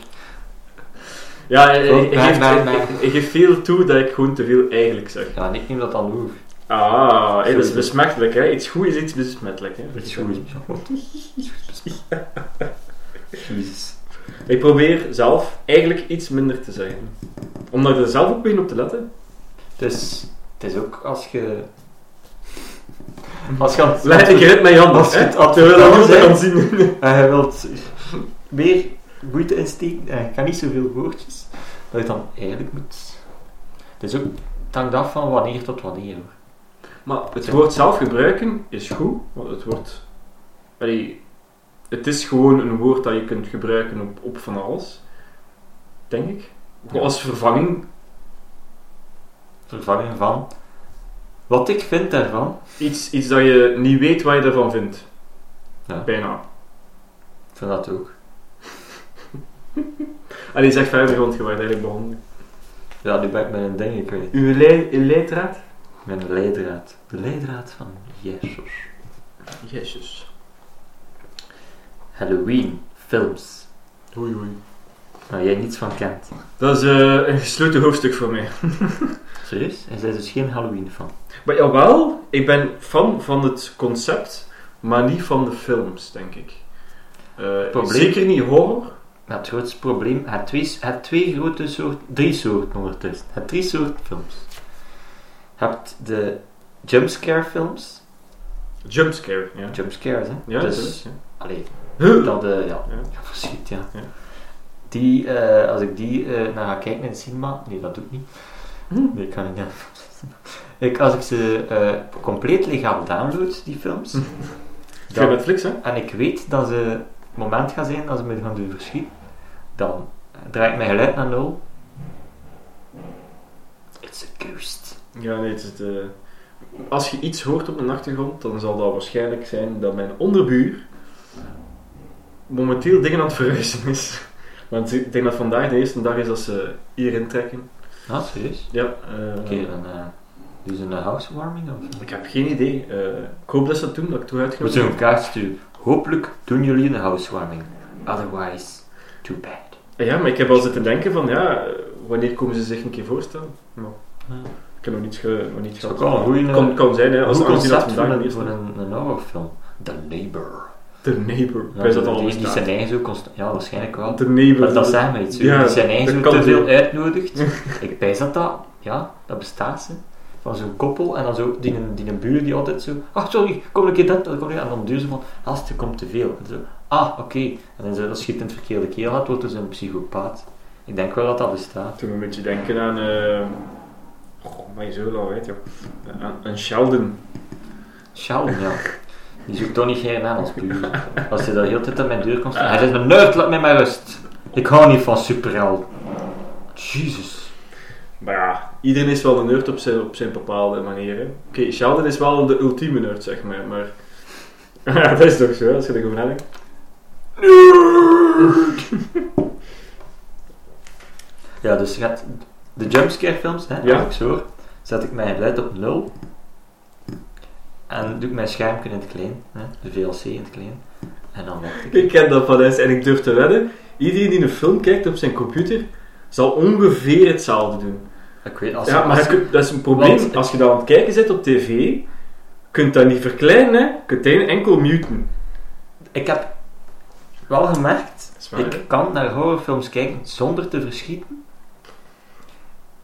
Speaker 2: Ja, ik,
Speaker 1: Oh,
Speaker 2: ik, ik
Speaker 1: mijn,
Speaker 2: geef,
Speaker 1: mijn,
Speaker 2: ik-
Speaker 1: mijn.
Speaker 2: ik- ik geef veel toe dat ik gewoon te veel eigenlijk zeg.
Speaker 1: Ja, en ik neem dat dan over.
Speaker 2: Ah, hé, dat is
Speaker 1: Sowieso.
Speaker 2: besmettelijk hè. Iets goed is iets besmettelijk hè.
Speaker 1: Dat is goed. Jezus.
Speaker 2: Ik probeer zelf eigenlijk iets minder te zeggen. Omdat ik er zelf ook ben op te letten.
Speaker 1: Dus, het is ook als je... Als je aan het-
Speaker 2: Let ik het met Jan.
Speaker 1: Als je
Speaker 2: hè?
Speaker 1: het aan het
Speaker 2: Terwijl dat
Speaker 1: vertellen
Speaker 2: niemand kan
Speaker 1: bent
Speaker 2: zien.
Speaker 1: en je wilt meer moeite insteken en je kan niet zoveel woordjes, dat je dan eigenlijk moet... Het is ook... Het hangt af van wanneer tot wanneer, hoor.
Speaker 2: Maar het woord zelf gebruiken is goed. Want het woord... Allee, het is gewoon een woord dat je kunt gebruiken op, op van alles. Denk ik.
Speaker 1: Ja.
Speaker 2: Als vervanging.
Speaker 1: vervangen van. Wat ik vind daarvan,
Speaker 2: Iets, iets dat je niet weet wat je ervan vindt.
Speaker 1: Ja.
Speaker 2: Bijna.
Speaker 1: ik vind dat ook.
Speaker 2: Allee, zeg verder, want je werd eigenlijk begonnen.
Speaker 1: Ja, nu ben ik met een ding kwijt.
Speaker 2: Uw lei- uw leidraad?
Speaker 1: Met een leidraad. De leidraad van Jezus.
Speaker 2: Jezus.
Speaker 1: Halloween films.
Speaker 2: Oei, oei.
Speaker 1: Waar jij niets van kent.
Speaker 2: Dat is eh, een gesloten hoofdstuk voor mij.
Speaker 1: Serieus? En zij is dus geen Halloween fan.
Speaker 2: Maar jawel, ik ben fan van het concept, maar niet van de films, denk ik. Eh,
Speaker 1: Probleem-
Speaker 2: zeker niet horror.
Speaker 1: Maar het grootste probleem, het twee, het twee grote soorten, drie soorten ondertussen. Het drie soorten films. Je hebt de jumpscare films.
Speaker 2: Jumpscare, ja.
Speaker 1: Jumpscares, hè?
Speaker 2: Ja,
Speaker 1: dus,
Speaker 2: natuurlijk, ja.
Speaker 1: allee,
Speaker 2: Huh?
Speaker 1: Dat, eh, ja.
Speaker 2: Ja.
Speaker 1: ja, verschiet, ja.
Speaker 2: Ja.
Speaker 1: Die, eh, als ik die eh, naar ga kijken in het cinema, nee, dat doe ik niet.
Speaker 2: Hm.
Speaker 1: Nee, ik kan niet. naar- Ik, als ik ze eh, compleet legaal download, die films,
Speaker 2: Via
Speaker 1: dan,
Speaker 2: Netflix, hè?
Speaker 1: en ik weet dat ze het moment gaat zijn dat ze me gaan doen verschieten, dan draai ik mijn geluid naar nul. It's a ghost.
Speaker 2: Ja, nee, het is eh, Als je iets hoort op de achtergrond, dan zal dat waarschijnlijk zijn dat mijn onderbuur momenteel dingen aan het verhuizen is. Want ik denk dat vandaag de eerste dag is dat ze hierin trekken.
Speaker 1: Ah, serieus?
Speaker 2: Ja, eh,
Speaker 1: Oké, dan eh, doen ze een housewarming of
Speaker 2: ik heb geen idee. Eh, ik hoop dat ze dat doen, dat ik toe
Speaker 1: We
Speaker 2: uitgenodigd
Speaker 1: zullen een
Speaker 2: ben.
Speaker 1: kaart sturen. Hopelijk doen jullie een housewarming. Otherwise, too bad.
Speaker 2: Eh, Ja, maar ik heb al zitten denken van, ja, eh, wanneer komen ze zich een keer voorstellen? Maar
Speaker 1: Ja.
Speaker 2: ik heb nog niet, ge, nog niet
Speaker 1: is ook
Speaker 2: gehad.
Speaker 1: wel een goeie, eh,
Speaker 2: kan, kan zijn, hè, als
Speaker 1: Hoe
Speaker 2: aangezien dat
Speaker 1: concept voor
Speaker 2: vandaag de
Speaker 1: een,
Speaker 2: eerste
Speaker 1: voor
Speaker 2: dag
Speaker 1: een, een horrorfilm. The Neighbor.
Speaker 2: De neighbor. Wij dat al
Speaker 1: die, die
Speaker 2: bestaan.
Speaker 1: zijn eigen zo constant... Ja, waarschijnlijk wel.
Speaker 2: De neighbor.
Speaker 1: Maar dat zijn we iets.
Speaker 2: Ja,
Speaker 1: die zijn eigen
Speaker 2: dat
Speaker 1: zo
Speaker 2: kan
Speaker 1: te veel
Speaker 2: wel.
Speaker 1: uitnodigt. Ik wijs dat dat... Ja, dat bestaat ze. Van zo'n koppel en dan zo die, die, die buur die altijd zo... Ah, sorry, kom een keer dat, dan kom ik... En dan duur ze van... Haast, er komt te veel. En zo, ah, oké. En dan zo, dat schiet in het verkeerde keel uit, wordt dus een psychopaat. Ik denk wel dat dat bestaat.
Speaker 2: Toen een beetje denken aan. eh goh, maar je zo lang weet, joh. Aan, aan Sheldon.
Speaker 1: Sjouwen, ja. Die zoekt toch niet geen aan als puur. Als je daar heel de tijd aan mijn deur komt staan. Hij zegt me, nerd, laat mij maar rust. Ik hou niet van superheld. Jezus.
Speaker 2: Maar ja, iedereen is wel een nerd op zijn, op zijn bepaalde manier. hè. Oké, Sheldon is wel de ultieme nerd, zeg maar. Maar Ja, dat is toch zo, als je erover nadenkt.
Speaker 1: Ja, dus je gaat de jumpscare films, hè,
Speaker 2: Ja.
Speaker 1: als ik zo hoor, zet ik mijn geluid op nul. En doe ik mijn schermpje in het klein, hè, de VLC in het klein. En dan wacht ik.
Speaker 2: Ik ken dat van huis en ik durf te wedden. Iedereen die een film kijkt op zijn computer, zal ongeveer hetzelfde doen.
Speaker 1: Ik weet, als,
Speaker 2: Ja, maar
Speaker 1: als-
Speaker 2: je- dat is een probleem.
Speaker 1: Want-
Speaker 2: Als je dat aan het kijken zit op tv, kunt dat niet verkleinen, hè. kunt dat enkel muten.
Speaker 1: ik heb wel gemerkt
Speaker 2: Dat is
Speaker 1: Ik kan naar horrorfilms kijken zonder te verschieten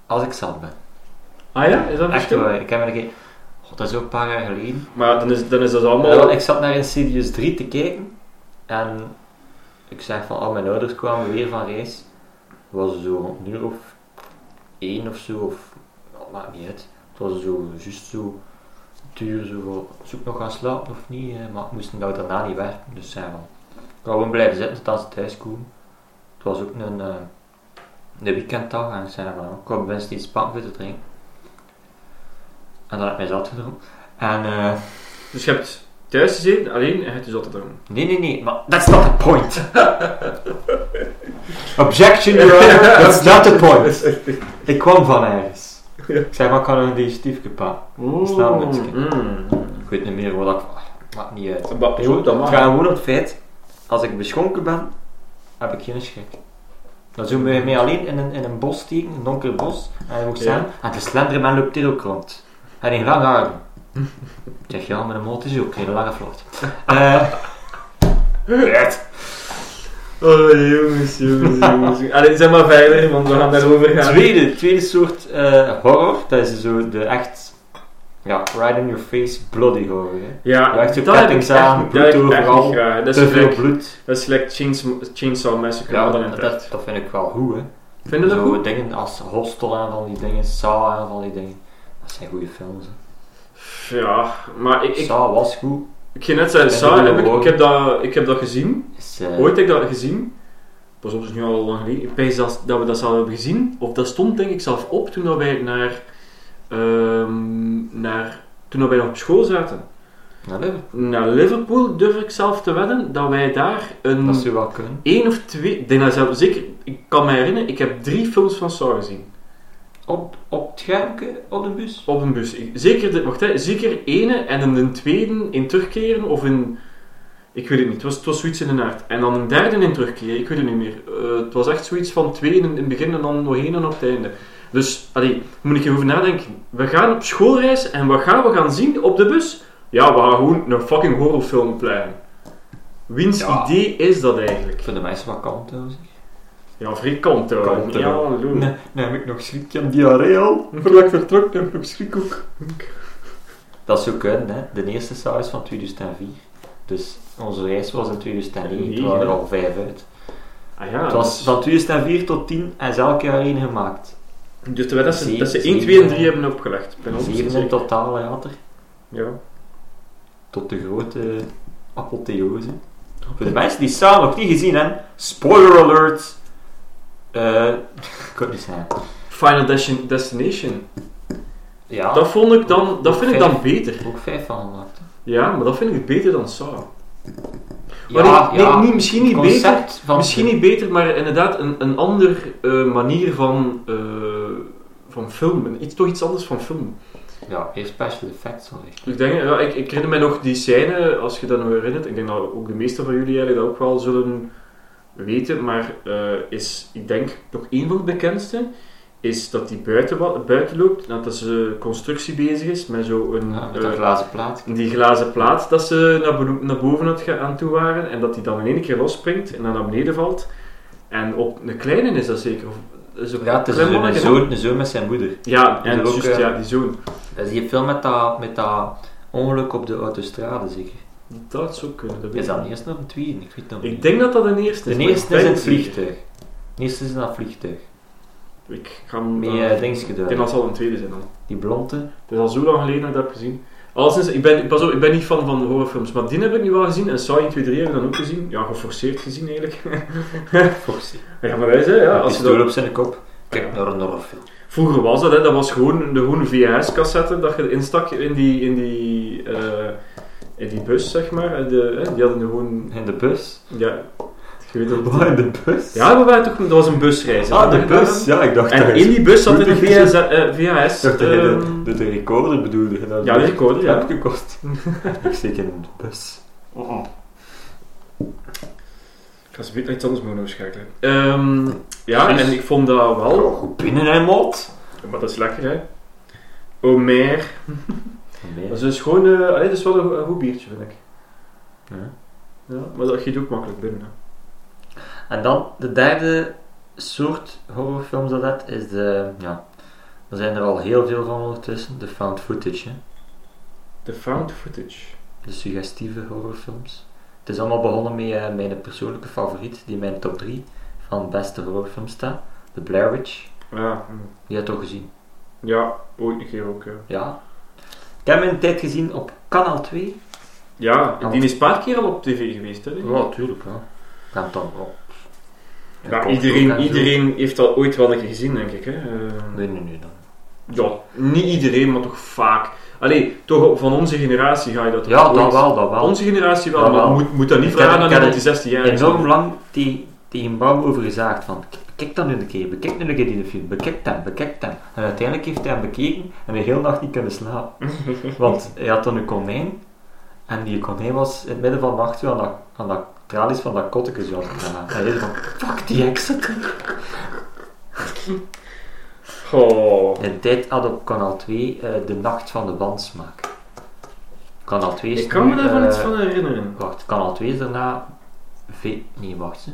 Speaker 1: als ik zat ben.
Speaker 2: Ah ja, is dat een
Speaker 1: Echt
Speaker 2: verschil?
Speaker 1: waar, ik heb er geen... God, dat is ook een paar jaar geleden.
Speaker 2: Maar dan is, dan is dat
Speaker 1: Ja,
Speaker 2: allemaal...
Speaker 1: want ik zat naar Insidious 3 te kijken en ik zeg van, al mijn ouders kwamen weer van reis. Het was zo een uur of één of zo, of nou, maakt niet uit. Het was zo, juist zo, het uur zo, van, zoek nog gaan slapen of niet, eh, maar ik moest nou daarna niet werken. Dus zei van, ik wou gewoon blijven zitten tot als ze thuis komen. Het was ook een, eh, een weekenddag en ik zei van, ik wou best iets pakken voor te drinken. En dan heb ik mij zat gedronken. En eh,
Speaker 2: Dus je hebt thuis gezeten, alleen, en het is altijd om.
Speaker 1: Nee, nee, nee, maar that's not the point. Objection, Your Honor, that's not the point. Ik kwam van ergens. Ik zei, maar ik had een initiatiefje pa. Staan met z'n
Speaker 2: mm.
Speaker 1: Ik weet niet meer wat ik... ah, Maakt niet uit.
Speaker 2: dat
Speaker 1: Het
Speaker 2: mag.
Speaker 1: gaat gewoon om het feit, als ik beschonken ben, heb ik geen schrik. Dan zullen we mij alleen in een, in een bos steken, een donker bos, en dan moet ik
Speaker 2: Ja.
Speaker 1: staan, en de slendere man loopt hier ook rond. En in lange armen. Ik zeg, ja, maar een mot is ook geen lange vlot. Eh,
Speaker 2: Oh, jongens, jongens, jongens. Allee, zeg maar veilig, want we gaan daarover gaan.
Speaker 1: Tweede, tweede soort eh, horror, dat is zo de echt, ja, right in your face, bloody horror. Hè.
Speaker 2: Ja,
Speaker 1: Waar echt je
Speaker 2: dat heb ik
Speaker 1: kettings
Speaker 2: echt
Speaker 1: aan,
Speaker 2: niet-
Speaker 1: bloed
Speaker 2: dat heb ik echt
Speaker 1: overal,
Speaker 2: niet graag. Dat
Speaker 1: Te
Speaker 2: is
Speaker 1: veel
Speaker 2: gelijk,
Speaker 1: bloed.
Speaker 2: dat is gelijk Chains- Chainsaw Massacre, maar dan in
Speaker 1: dat,
Speaker 2: het echt.
Speaker 1: dat- dat vind ik wel goed, hè.
Speaker 2: Vind je dat
Speaker 1: zo
Speaker 2: goed?
Speaker 1: dingen als Hostel aan van die dingen, Saw aan van die dingen. Dat zijn goede films, hè.
Speaker 2: Ja, maar ik... ik
Speaker 1: Saw was goed.
Speaker 2: ik ging net zeggen,
Speaker 1: Ben
Speaker 2: Saw,
Speaker 1: je
Speaker 2: heb ik,
Speaker 1: gewoon-
Speaker 2: ik, heb dat, ik heb dat gezien.
Speaker 1: Is, eh,
Speaker 2: Ooit heb ik dat gezien. Pas op, dat is nu al lang geleden. Ik weet dat, dat we dat zelf hebben gezien. Of dat stond denk ik zelf op toen dat wij naar... ehm, naar toen dat wij nog op school zaten.
Speaker 1: nou, nee,
Speaker 2: Naar Liverpool durf ik zelf te wedden dat wij daar een...
Speaker 1: dat zou wel kunnen.
Speaker 2: één of twee... Ik denk dat zelf, zeker... Ik kan me herinneren, ik heb drie films van Saw gezien.
Speaker 1: Op, op het schermpje, op de bus.
Speaker 2: Op een bus. Ik- Zeker, de, wacht, hè, zeker ene en dan een tweede in terugkeren of in... Ik weet het niet, het was, het was zoiets in de naart. En dan een derde in terugkeren, ik weet het niet meer. Eh, het was echt zoiets van twee in, in het begin en dan nog één en op het einde. Dus, allee, moet ik erover nadenken. We gaan op schoolreis en wat gaan we gaan zien op de bus? Ja, we gaan gewoon een fucking horrorfilm plannen. Wiens
Speaker 1: Ja.
Speaker 2: idee is dat eigenlijk?
Speaker 1: Voor de mensen wat kalm, trouwens.
Speaker 2: Ja, vrij kant hoor.
Speaker 1: Kant, hè.
Speaker 2: Ja, hallo.
Speaker 1: Nee, nee, heb ik nog schrik aan diarree al. Voordat ik vertrok, heb ik nog schrik ook. Dat is ook kunnen, hè. De eerste saus van 2004. De Dus onze reis was in 2009,
Speaker 2: Nee,
Speaker 1: toen waren er
Speaker 2: hè?
Speaker 1: al vijf uit.
Speaker 2: Ah ja,
Speaker 1: Het was van 2004 tot 10 en ze elk jaar één gemaakt.
Speaker 2: dus dat, dat, ze, dat ze
Speaker 1: Zeven-
Speaker 2: 1, 2 en
Speaker 1: zeven-
Speaker 2: 3 hebben opgelegd. Ik Ben honderd
Speaker 1: Zeven in
Speaker 2: zeker.
Speaker 1: totaal later,
Speaker 2: Ja.
Speaker 1: tot de grote apotheose. Voor de mensen die Saal nog niet gezien hebben, spoiler alert! Eh, ik kan het niet zeggen.
Speaker 2: Final Desti- Destination.
Speaker 1: Ja,
Speaker 2: Dat vond ik dan, dat vind ik dan
Speaker 1: Vijf.
Speaker 2: beter.
Speaker 1: ook vijf van gemaakt. hè.
Speaker 2: Ja, maar dat vind ik beter dan Saw.
Speaker 1: Ja,
Speaker 2: maar nee,
Speaker 1: ja,
Speaker 2: nee, niet, misschien niet
Speaker 1: het
Speaker 2: beter.
Speaker 1: concept van
Speaker 2: Misschien niet beter, maar inderdaad een, een andere manier van, eh, van filmen. Iets, toch iets anders van filmen.
Speaker 1: Ja, eerst special effects alweer.
Speaker 2: Ik, denk, ja, ik, ik herinner mij nog die scène, als je dat nog herinnert. Ik denk dat ook de meesten van jullie eigenlijk dat ook wel zullen weten. Maar eh, is, ik denk, nog één van de bekendste. Is dat die buiten, wa- buiten loopt. en Dat ze constructie bezig is met zo'n...
Speaker 1: Ja, met
Speaker 2: eh,
Speaker 1: dat glazen plaat.
Speaker 2: die glazen plaat dat ze naar, beno- naar boven aan het ge- aan toe waren en dat die dan in één keer losspringt en dan naar beneden valt. En op een kleine is dat zeker. Of, is op
Speaker 1: Ja, het is
Speaker 2: klein
Speaker 1: een
Speaker 2: mannetje,
Speaker 1: zoon, een zoon met zijn moeder.
Speaker 2: Ja, en
Speaker 1: er ook,
Speaker 2: juist,
Speaker 1: eh,
Speaker 2: ja, die zoon.
Speaker 1: Dat is die film met dat, met dat ongeluk op de autostrade, zeker.
Speaker 2: Dat zou kunnen. Dat weet
Speaker 1: Is
Speaker 2: ik
Speaker 1: dat
Speaker 2: niet.
Speaker 1: niet eerst nog een tweede? Ik weet het nog
Speaker 2: Ik
Speaker 1: niet.
Speaker 2: denk dat dat een eerste
Speaker 1: De
Speaker 2: is. maar ik
Speaker 1: eerste is
Speaker 2: ben
Speaker 1: in het
Speaker 2: zeker.
Speaker 1: vliegtuig. De eerste is in dat vliegtuig.
Speaker 2: Ik ga hem
Speaker 1: Met
Speaker 2: dan-
Speaker 1: uh, dings
Speaker 2: Ik denk
Speaker 1: gedaan.
Speaker 2: dat zal een tweede zijn dan.
Speaker 1: Die blonde.
Speaker 2: Het is al zo lang geleden dat ik dat heb gezien. Al sinds, ik, ben, pas op, ik ben niet fan van horrorfilms, maar die heb ik nu wel gezien en Saw 1, 2, 3 heb ik dan ook gezien. Ja, geforceerd gezien eigenlijk.
Speaker 1: Foxy.
Speaker 2: ja, maar wij zijn, ja,
Speaker 1: Een
Speaker 2: als je
Speaker 1: pistool
Speaker 2: dat...
Speaker 1: op zijn kop. Kijk naar een horrorfilm.
Speaker 2: Vroeger was dat, hè. dat was gewoon de gewoon VHS-cassette dat je instak in die, in die, eh, in die bus, zeg maar. En de, hè, die hadden gewoon,
Speaker 1: In de bus.
Speaker 2: ja, je weet dat-
Speaker 1: Waar in de bus?
Speaker 2: Ja, we waren toch, dat was een busreis. hè.
Speaker 1: Ah, de bus. Ja, ik dacht dat
Speaker 2: En
Speaker 1: je-
Speaker 2: in die bus zat
Speaker 1: Goed,
Speaker 2: een
Speaker 1: ik-
Speaker 2: VHS, eh, VHS
Speaker 1: ik dacht dat je de,
Speaker 2: ehm,
Speaker 1: de, de recorder bedoelde. je dat
Speaker 2: ja, de recorder, ja.
Speaker 1: Heb ik gekost. ik steek in de bus.
Speaker 2: Ik ga ze weer naar iets anders moeten overschakelen. Ehm, ja, en ik vond dat wel...
Speaker 1: Oh, goed binnen hè, mot.
Speaker 2: Maar dat is lekker, hè. Omer. Dat is een schoon... eh, allee, dat is wel een, een goed biertje, vind ik.
Speaker 1: Ja.
Speaker 2: Ja, maar dat giet ook makkelijk binnen, hè.
Speaker 1: En dan de derde soort horrorfilms dat het is de. Ja, er zijn er al heel veel van ondertussen. De found footage, hè.
Speaker 2: De found footage.
Speaker 1: de suggestieve horrorfilms. Het is allemaal begonnen met eh, mijn persoonlijke favoriet, die in mijn top 3 van beste horrorfilms staat: The Blair Witch.
Speaker 2: Ja, mm.
Speaker 1: Die heb je toch gezien?
Speaker 2: ja ooit een keer ook. Ja,
Speaker 1: Ja. Ik heb hem een tijd gezien op kanaal 2.
Speaker 2: ja die is een paar keer al op tv geweest. Hè, denk ik.
Speaker 1: tuurlijk wel. Ja, dan wel.
Speaker 2: ja, iedereen iedereen heeft dat ooit wel een keer gezien, denk ik. Hè. Eh,
Speaker 1: Nee, nee, nee. Dan.
Speaker 2: Ja, niet iedereen, maar toch vaak. Allee, toch van onze generatie ga je dat toch
Speaker 1: Ja, dat
Speaker 2: ooit-
Speaker 1: wel, dat wel.
Speaker 2: Onze generatie wel,
Speaker 1: Dat
Speaker 2: maar
Speaker 1: wel.
Speaker 2: Moet, moet dat niet
Speaker 1: Ik
Speaker 2: vragen
Speaker 1: heb-
Speaker 2: aan
Speaker 1: ik heb
Speaker 2: iemand die
Speaker 1: het
Speaker 2: 16 jaar is.
Speaker 1: enorm lang die, die een bouw overgezaagd van "K- kijk dan nu een keer, bekijk nu een keer die film, bekijk hem, bekijk hem. En uiteindelijk heeft hij hem bekeken en de hele nacht niet kunnen slapen. Want hij had dan een konijn en die konijn was in het midden van de nacht zo aan dat, aan dat tralies van dat kotteke zo aan het draaien. En hij is van fuck die heksen.
Speaker 2: Goh.
Speaker 1: En tijd had op kanaal 2 eh, de nacht van de wansmaak. Kanaal 2 is
Speaker 2: Ik kan me
Speaker 1: nu,
Speaker 2: daar wel
Speaker 1: eh,
Speaker 2: iets van herinneren.
Speaker 1: Wacht, kanaal 2 is daarna V. Nee, wacht. Hè.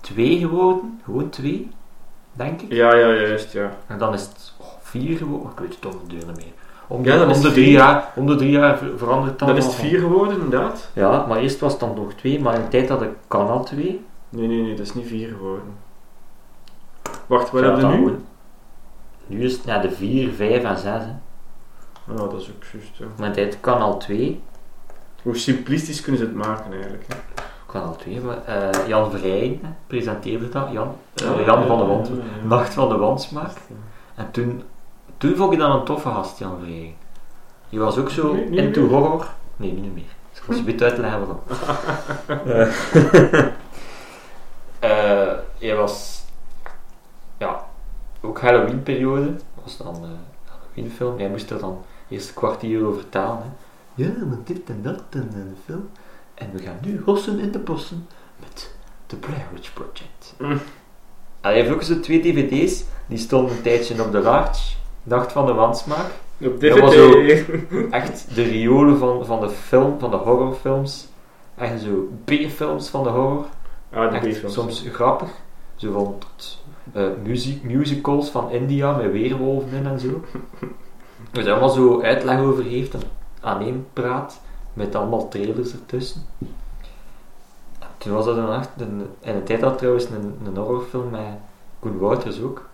Speaker 1: 2 geworden, gewoon 2, denk ik.
Speaker 2: Ja, ja, juist, ja.
Speaker 1: En dan is het 4 geworden, ik weet het toch de deur niet meer. Om de,
Speaker 2: Ja, dan is
Speaker 1: om de
Speaker 2: het
Speaker 1: drie
Speaker 2: vier.
Speaker 1: jaar, om de drie jaar ver- verandert dan.
Speaker 2: Dan is het
Speaker 1: nog van-
Speaker 2: 4 geworden, inderdaad.
Speaker 1: Ja, maar eerst was het dan nog 2, maar in de tijd had ik kanaal 2.
Speaker 2: Nee, nee, nee, dat is niet 4 geworden. Wacht, wat hebben we nu?
Speaker 1: Nu is het naar de 4, 5 en 6. Hè.
Speaker 2: Ja, Ah, dat is ook juist, ja.
Speaker 1: Maar in de tijd kanaal 2,
Speaker 2: Hoe simplistisch kunnen ze het maken eigenlijk? hè?
Speaker 1: kanaal 2, maar, eh, Jan Vrijen hè, presenteerde dat. Jan,
Speaker 2: Oh,
Speaker 1: eh, Jan van de Wand. Nacht van de Wansmaak. En toen, toen vond ik dat een toffe gast, Jan Verheyen. Die was ook zo
Speaker 2: Nee, niet
Speaker 1: into
Speaker 2: meer.
Speaker 1: horror. Nee, niet meer. Dus ik was een beetje uitleggen waarom. Eh hij was... Ja, ook Halloween-periode. Dat was dan eh, een Halloween-film. Hij moest er dan eerst een kwartier over vertalen. Hè. Ja, maar dit en dat en eh, de film. En we gaan nu hossen in de bossen met The Blair Witch Project.
Speaker 2: Mm.
Speaker 1: Hij heeft ook zo twee dvd's. Die stonden een tijdje op de laartje. Nacht van de wansmaak.
Speaker 2: Op
Speaker 1: Dat was
Speaker 2: DVD.
Speaker 1: Echt de riolen van, van de film, van de horrorfilms. Echt zo B-films van de horror.
Speaker 2: Ah, de
Speaker 1: Echt
Speaker 2: B-films.
Speaker 1: soms grappig. Zo van tot, eh, muziek, musicals van India met weerwolven in en zo. Waar hij allemaal zo uitleg over heeft en aan één praat. Met allemaal trailers ertussen. Toen was dat een hart. Een, en een tijd had trouwens een, een horrorfilm met Koen Wouters ook.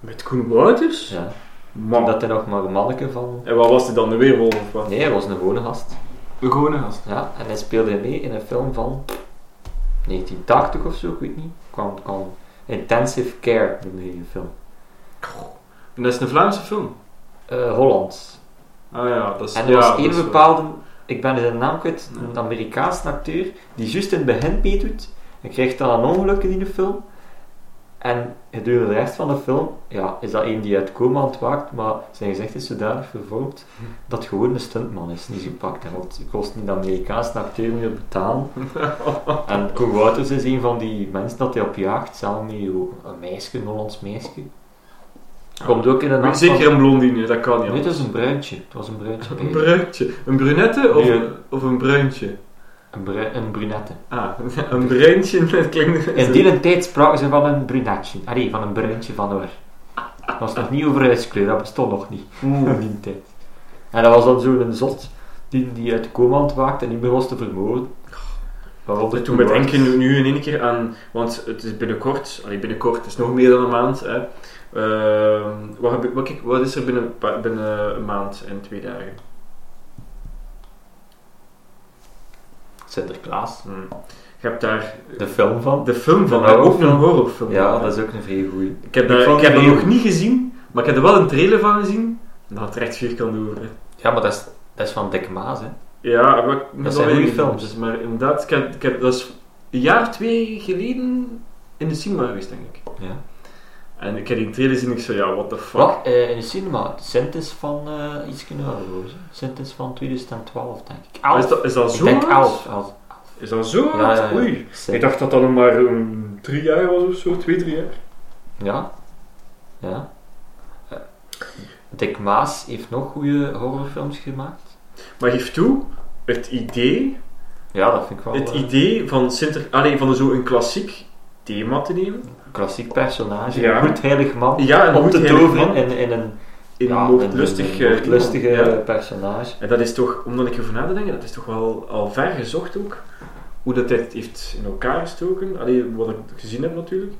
Speaker 2: Met Koen Wouters?
Speaker 1: Ja.
Speaker 2: Man.
Speaker 1: Dat hij nog maar een manneke van.
Speaker 2: En wat was hij dan, de weerwolf of wat?
Speaker 1: Nee, hij was een gewone gast.
Speaker 2: Een gewone gast.
Speaker 1: Ja, en hij speelde mee in een film van 1980 of zo, ik weet niet. Kwam, kwam. Intensive Care noemde hij een film.
Speaker 2: En dat is een Vlaamse film.
Speaker 1: Eh, Hollands.
Speaker 2: Ah ja, dat is...
Speaker 1: En er
Speaker 2: ja,
Speaker 1: was
Speaker 2: dat
Speaker 1: één
Speaker 2: is wel-
Speaker 1: bepaalde, ik ben zijn naam kwijt, een
Speaker 2: Ja.
Speaker 1: Amerikaanse acteur, die juist in het begin meedoet. Hij krijgt dan een ongeluk in die film. En gedurende de rest van de film, ja, is dat één die uit coma ontwaakt, maar zijn gezicht is zodanig vervormd dat het gewoon een stuntman is die ze pakt. En want het kost niet de Amerikaanse acteur meer betalen. en Koen Wouters is een van die mensen dat hij op jaagt, samen met een meisje, een Hollands meisje. Komt ook in een nacht
Speaker 2: Zeker
Speaker 1: van-
Speaker 2: een blondine, dat kan niet
Speaker 1: Nee,
Speaker 2: anders.
Speaker 1: het is een bruintje. Het was een bruintje.
Speaker 2: Een bruintje. Een brunette of,
Speaker 1: Nee.
Speaker 2: een- of een bruintje?
Speaker 1: Een, bru- een brunette.
Speaker 2: Ah, een bruintje, dat klinkt...
Speaker 1: In die tijd spraken ze van een brunetje. Allee, van een bruintje van hoor. Dat was nog niet over huidskleur, dat bestond nog niet. Oeh, in die tijd. En dat was dan zo'n zot die, die uit de coma ontwaakte en niet meer was te vermoorden. Waaronder
Speaker 2: Toen we denken nu in één keer aan, want het is binnenkort, allee, binnenkort het is nog meer dan een maand. Hè. Ehm, wat, heb ik- wat, kijk, wat is er binnen, een paar- binnen een maand en twee dagen?
Speaker 1: Sinterklaas.
Speaker 2: Hm. Je hebt daar
Speaker 1: De film van.
Speaker 2: de film van,
Speaker 1: Een
Speaker 2: maar ook
Speaker 1: horrorfilm.
Speaker 2: een horrorfilm.
Speaker 1: Ja, dat is ook een vrij goeie.
Speaker 2: Ik heb,
Speaker 1: Ik
Speaker 2: daar, ik
Speaker 1: vond
Speaker 2: heb
Speaker 1: die
Speaker 2: dat
Speaker 1: heel
Speaker 2: nog niet gezien, maar ik heb er wel een trailer van gezien. En dat had er echt vierkant over. hè.
Speaker 1: Ja, maar dat is, dat is van Dick Maas, hè.
Speaker 2: Ja, maar ik moet
Speaker 1: zijn
Speaker 2: wel
Speaker 1: goede
Speaker 2: weer-
Speaker 1: films.
Speaker 2: dus, maar inderdaad, ik heb, ik heb, dat is een jaar, twee geleden in de cinema geweest, denk ik.
Speaker 1: Ja.
Speaker 2: En ik heb die trailer zien en ik zo, ja, what the fuck.
Speaker 1: Wat? eh, in de cinema. Sint is van eh iets kunnen hoor. Sint is van 2012, denk ik.
Speaker 2: Maar Is
Speaker 1: Elf.
Speaker 2: dat, is dat
Speaker 1: Ik
Speaker 2: zo
Speaker 1: denk
Speaker 2: oud?
Speaker 1: elf. elf.
Speaker 2: Is dat zo
Speaker 1: Ja,
Speaker 2: oud?
Speaker 1: ja, ja.
Speaker 2: Oei.
Speaker 1: Sint.
Speaker 2: Ik dacht dat dat nog maar um, drie jaar was of zo, twee, drie jaar.
Speaker 1: Ja. Ja. Eh, Dick Maas heeft nog goede horrorfilms gemaakt.
Speaker 2: Maar geef toe, het idee,
Speaker 1: Ja, dat vind ik wel
Speaker 2: het
Speaker 1: eh,
Speaker 2: idee van, Sinter, allee, van zo'n klassiek thema te nemen.
Speaker 1: een klassiek personage.
Speaker 2: Ja.
Speaker 1: Een goed heilig man.
Speaker 2: Ja, een
Speaker 1: om te
Speaker 2: goed heilig
Speaker 1: toveren
Speaker 2: man.
Speaker 1: in, in een
Speaker 2: In
Speaker 1: ja,
Speaker 2: een moordlustig...
Speaker 1: een
Speaker 2: eh,
Speaker 1: moordlustige
Speaker 2: iemand, ja.
Speaker 1: personage.
Speaker 2: En dat is toch, omdat ik erover na te denken, dat is toch wel al ver gezocht ook. Hoe dat dit heeft in elkaar gestoken. Allee, wat ik gezien heb natuurlijk.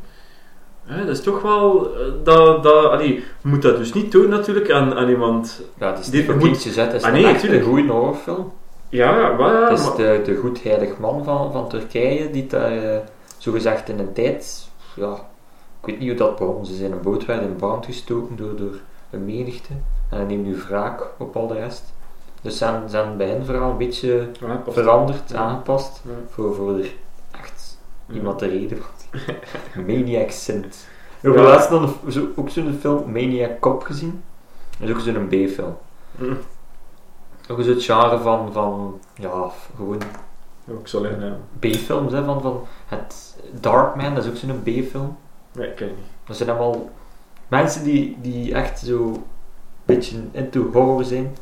Speaker 2: Hè, dat is toch wel... eh, dat, dat, allee, je moet dat dus niet doen natuurlijk aan, aan iemand...
Speaker 1: Ja, het is
Speaker 2: Dit
Speaker 1: niet voor
Speaker 2: moet-
Speaker 1: kindjes, hè. Het is
Speaker 2: Ah,
Speaker 1: een
Speaker 2: nee,
Speaker 1: echt een
Speaker 2: tuurlijk.
Speaker 1: goede horrorfilm.
Speaker 2: Ja, wel, ja,
Speaker 1: Het is
Speaker 2: Oh, maar-
Speaker 1: de, de goed heilig man van, van Turkije die daar eh, zogezegd in een tijd... Ja, ik weet niet hoe dat bij ons is. In een boot werd in brand gestoken door, door een menigte. En hij neemt nu wraak op al de rest. Dus zijn, zijn bij hen verhaal een beetje
Speaker 2: Ja, pas-
Speaker 1: veranderd,
Speaker 2: Ja.
Speaker 1: aangepast.
Speaker 2: Ja.
Speaker 1: Voor, voor er echt
Speaker 2: Ja.
Speaker 1: iemand de reden van. Maniac Sint.
Speaker 2: Ja.
Speaker 1: Ik heb laatst dan een- zo- ook zo'n film Maniac Cop gezien. Dat is ook zo'n B-film.
Speaker 2: Hm.
Speaker 1: Ook zo het genre van, van ja, gewoon
Speaker 2: Ja, Ik zal eh, zeggen, ja.
Speaker 1: B-films, hè, van, van het Darkman, dat is ook zo'n B-film.
Speaker 2: Nee, ik ken het niet.
Speaker 1: Dat zijn allemaal mensen die, die echt zo een beetje into horror zijn.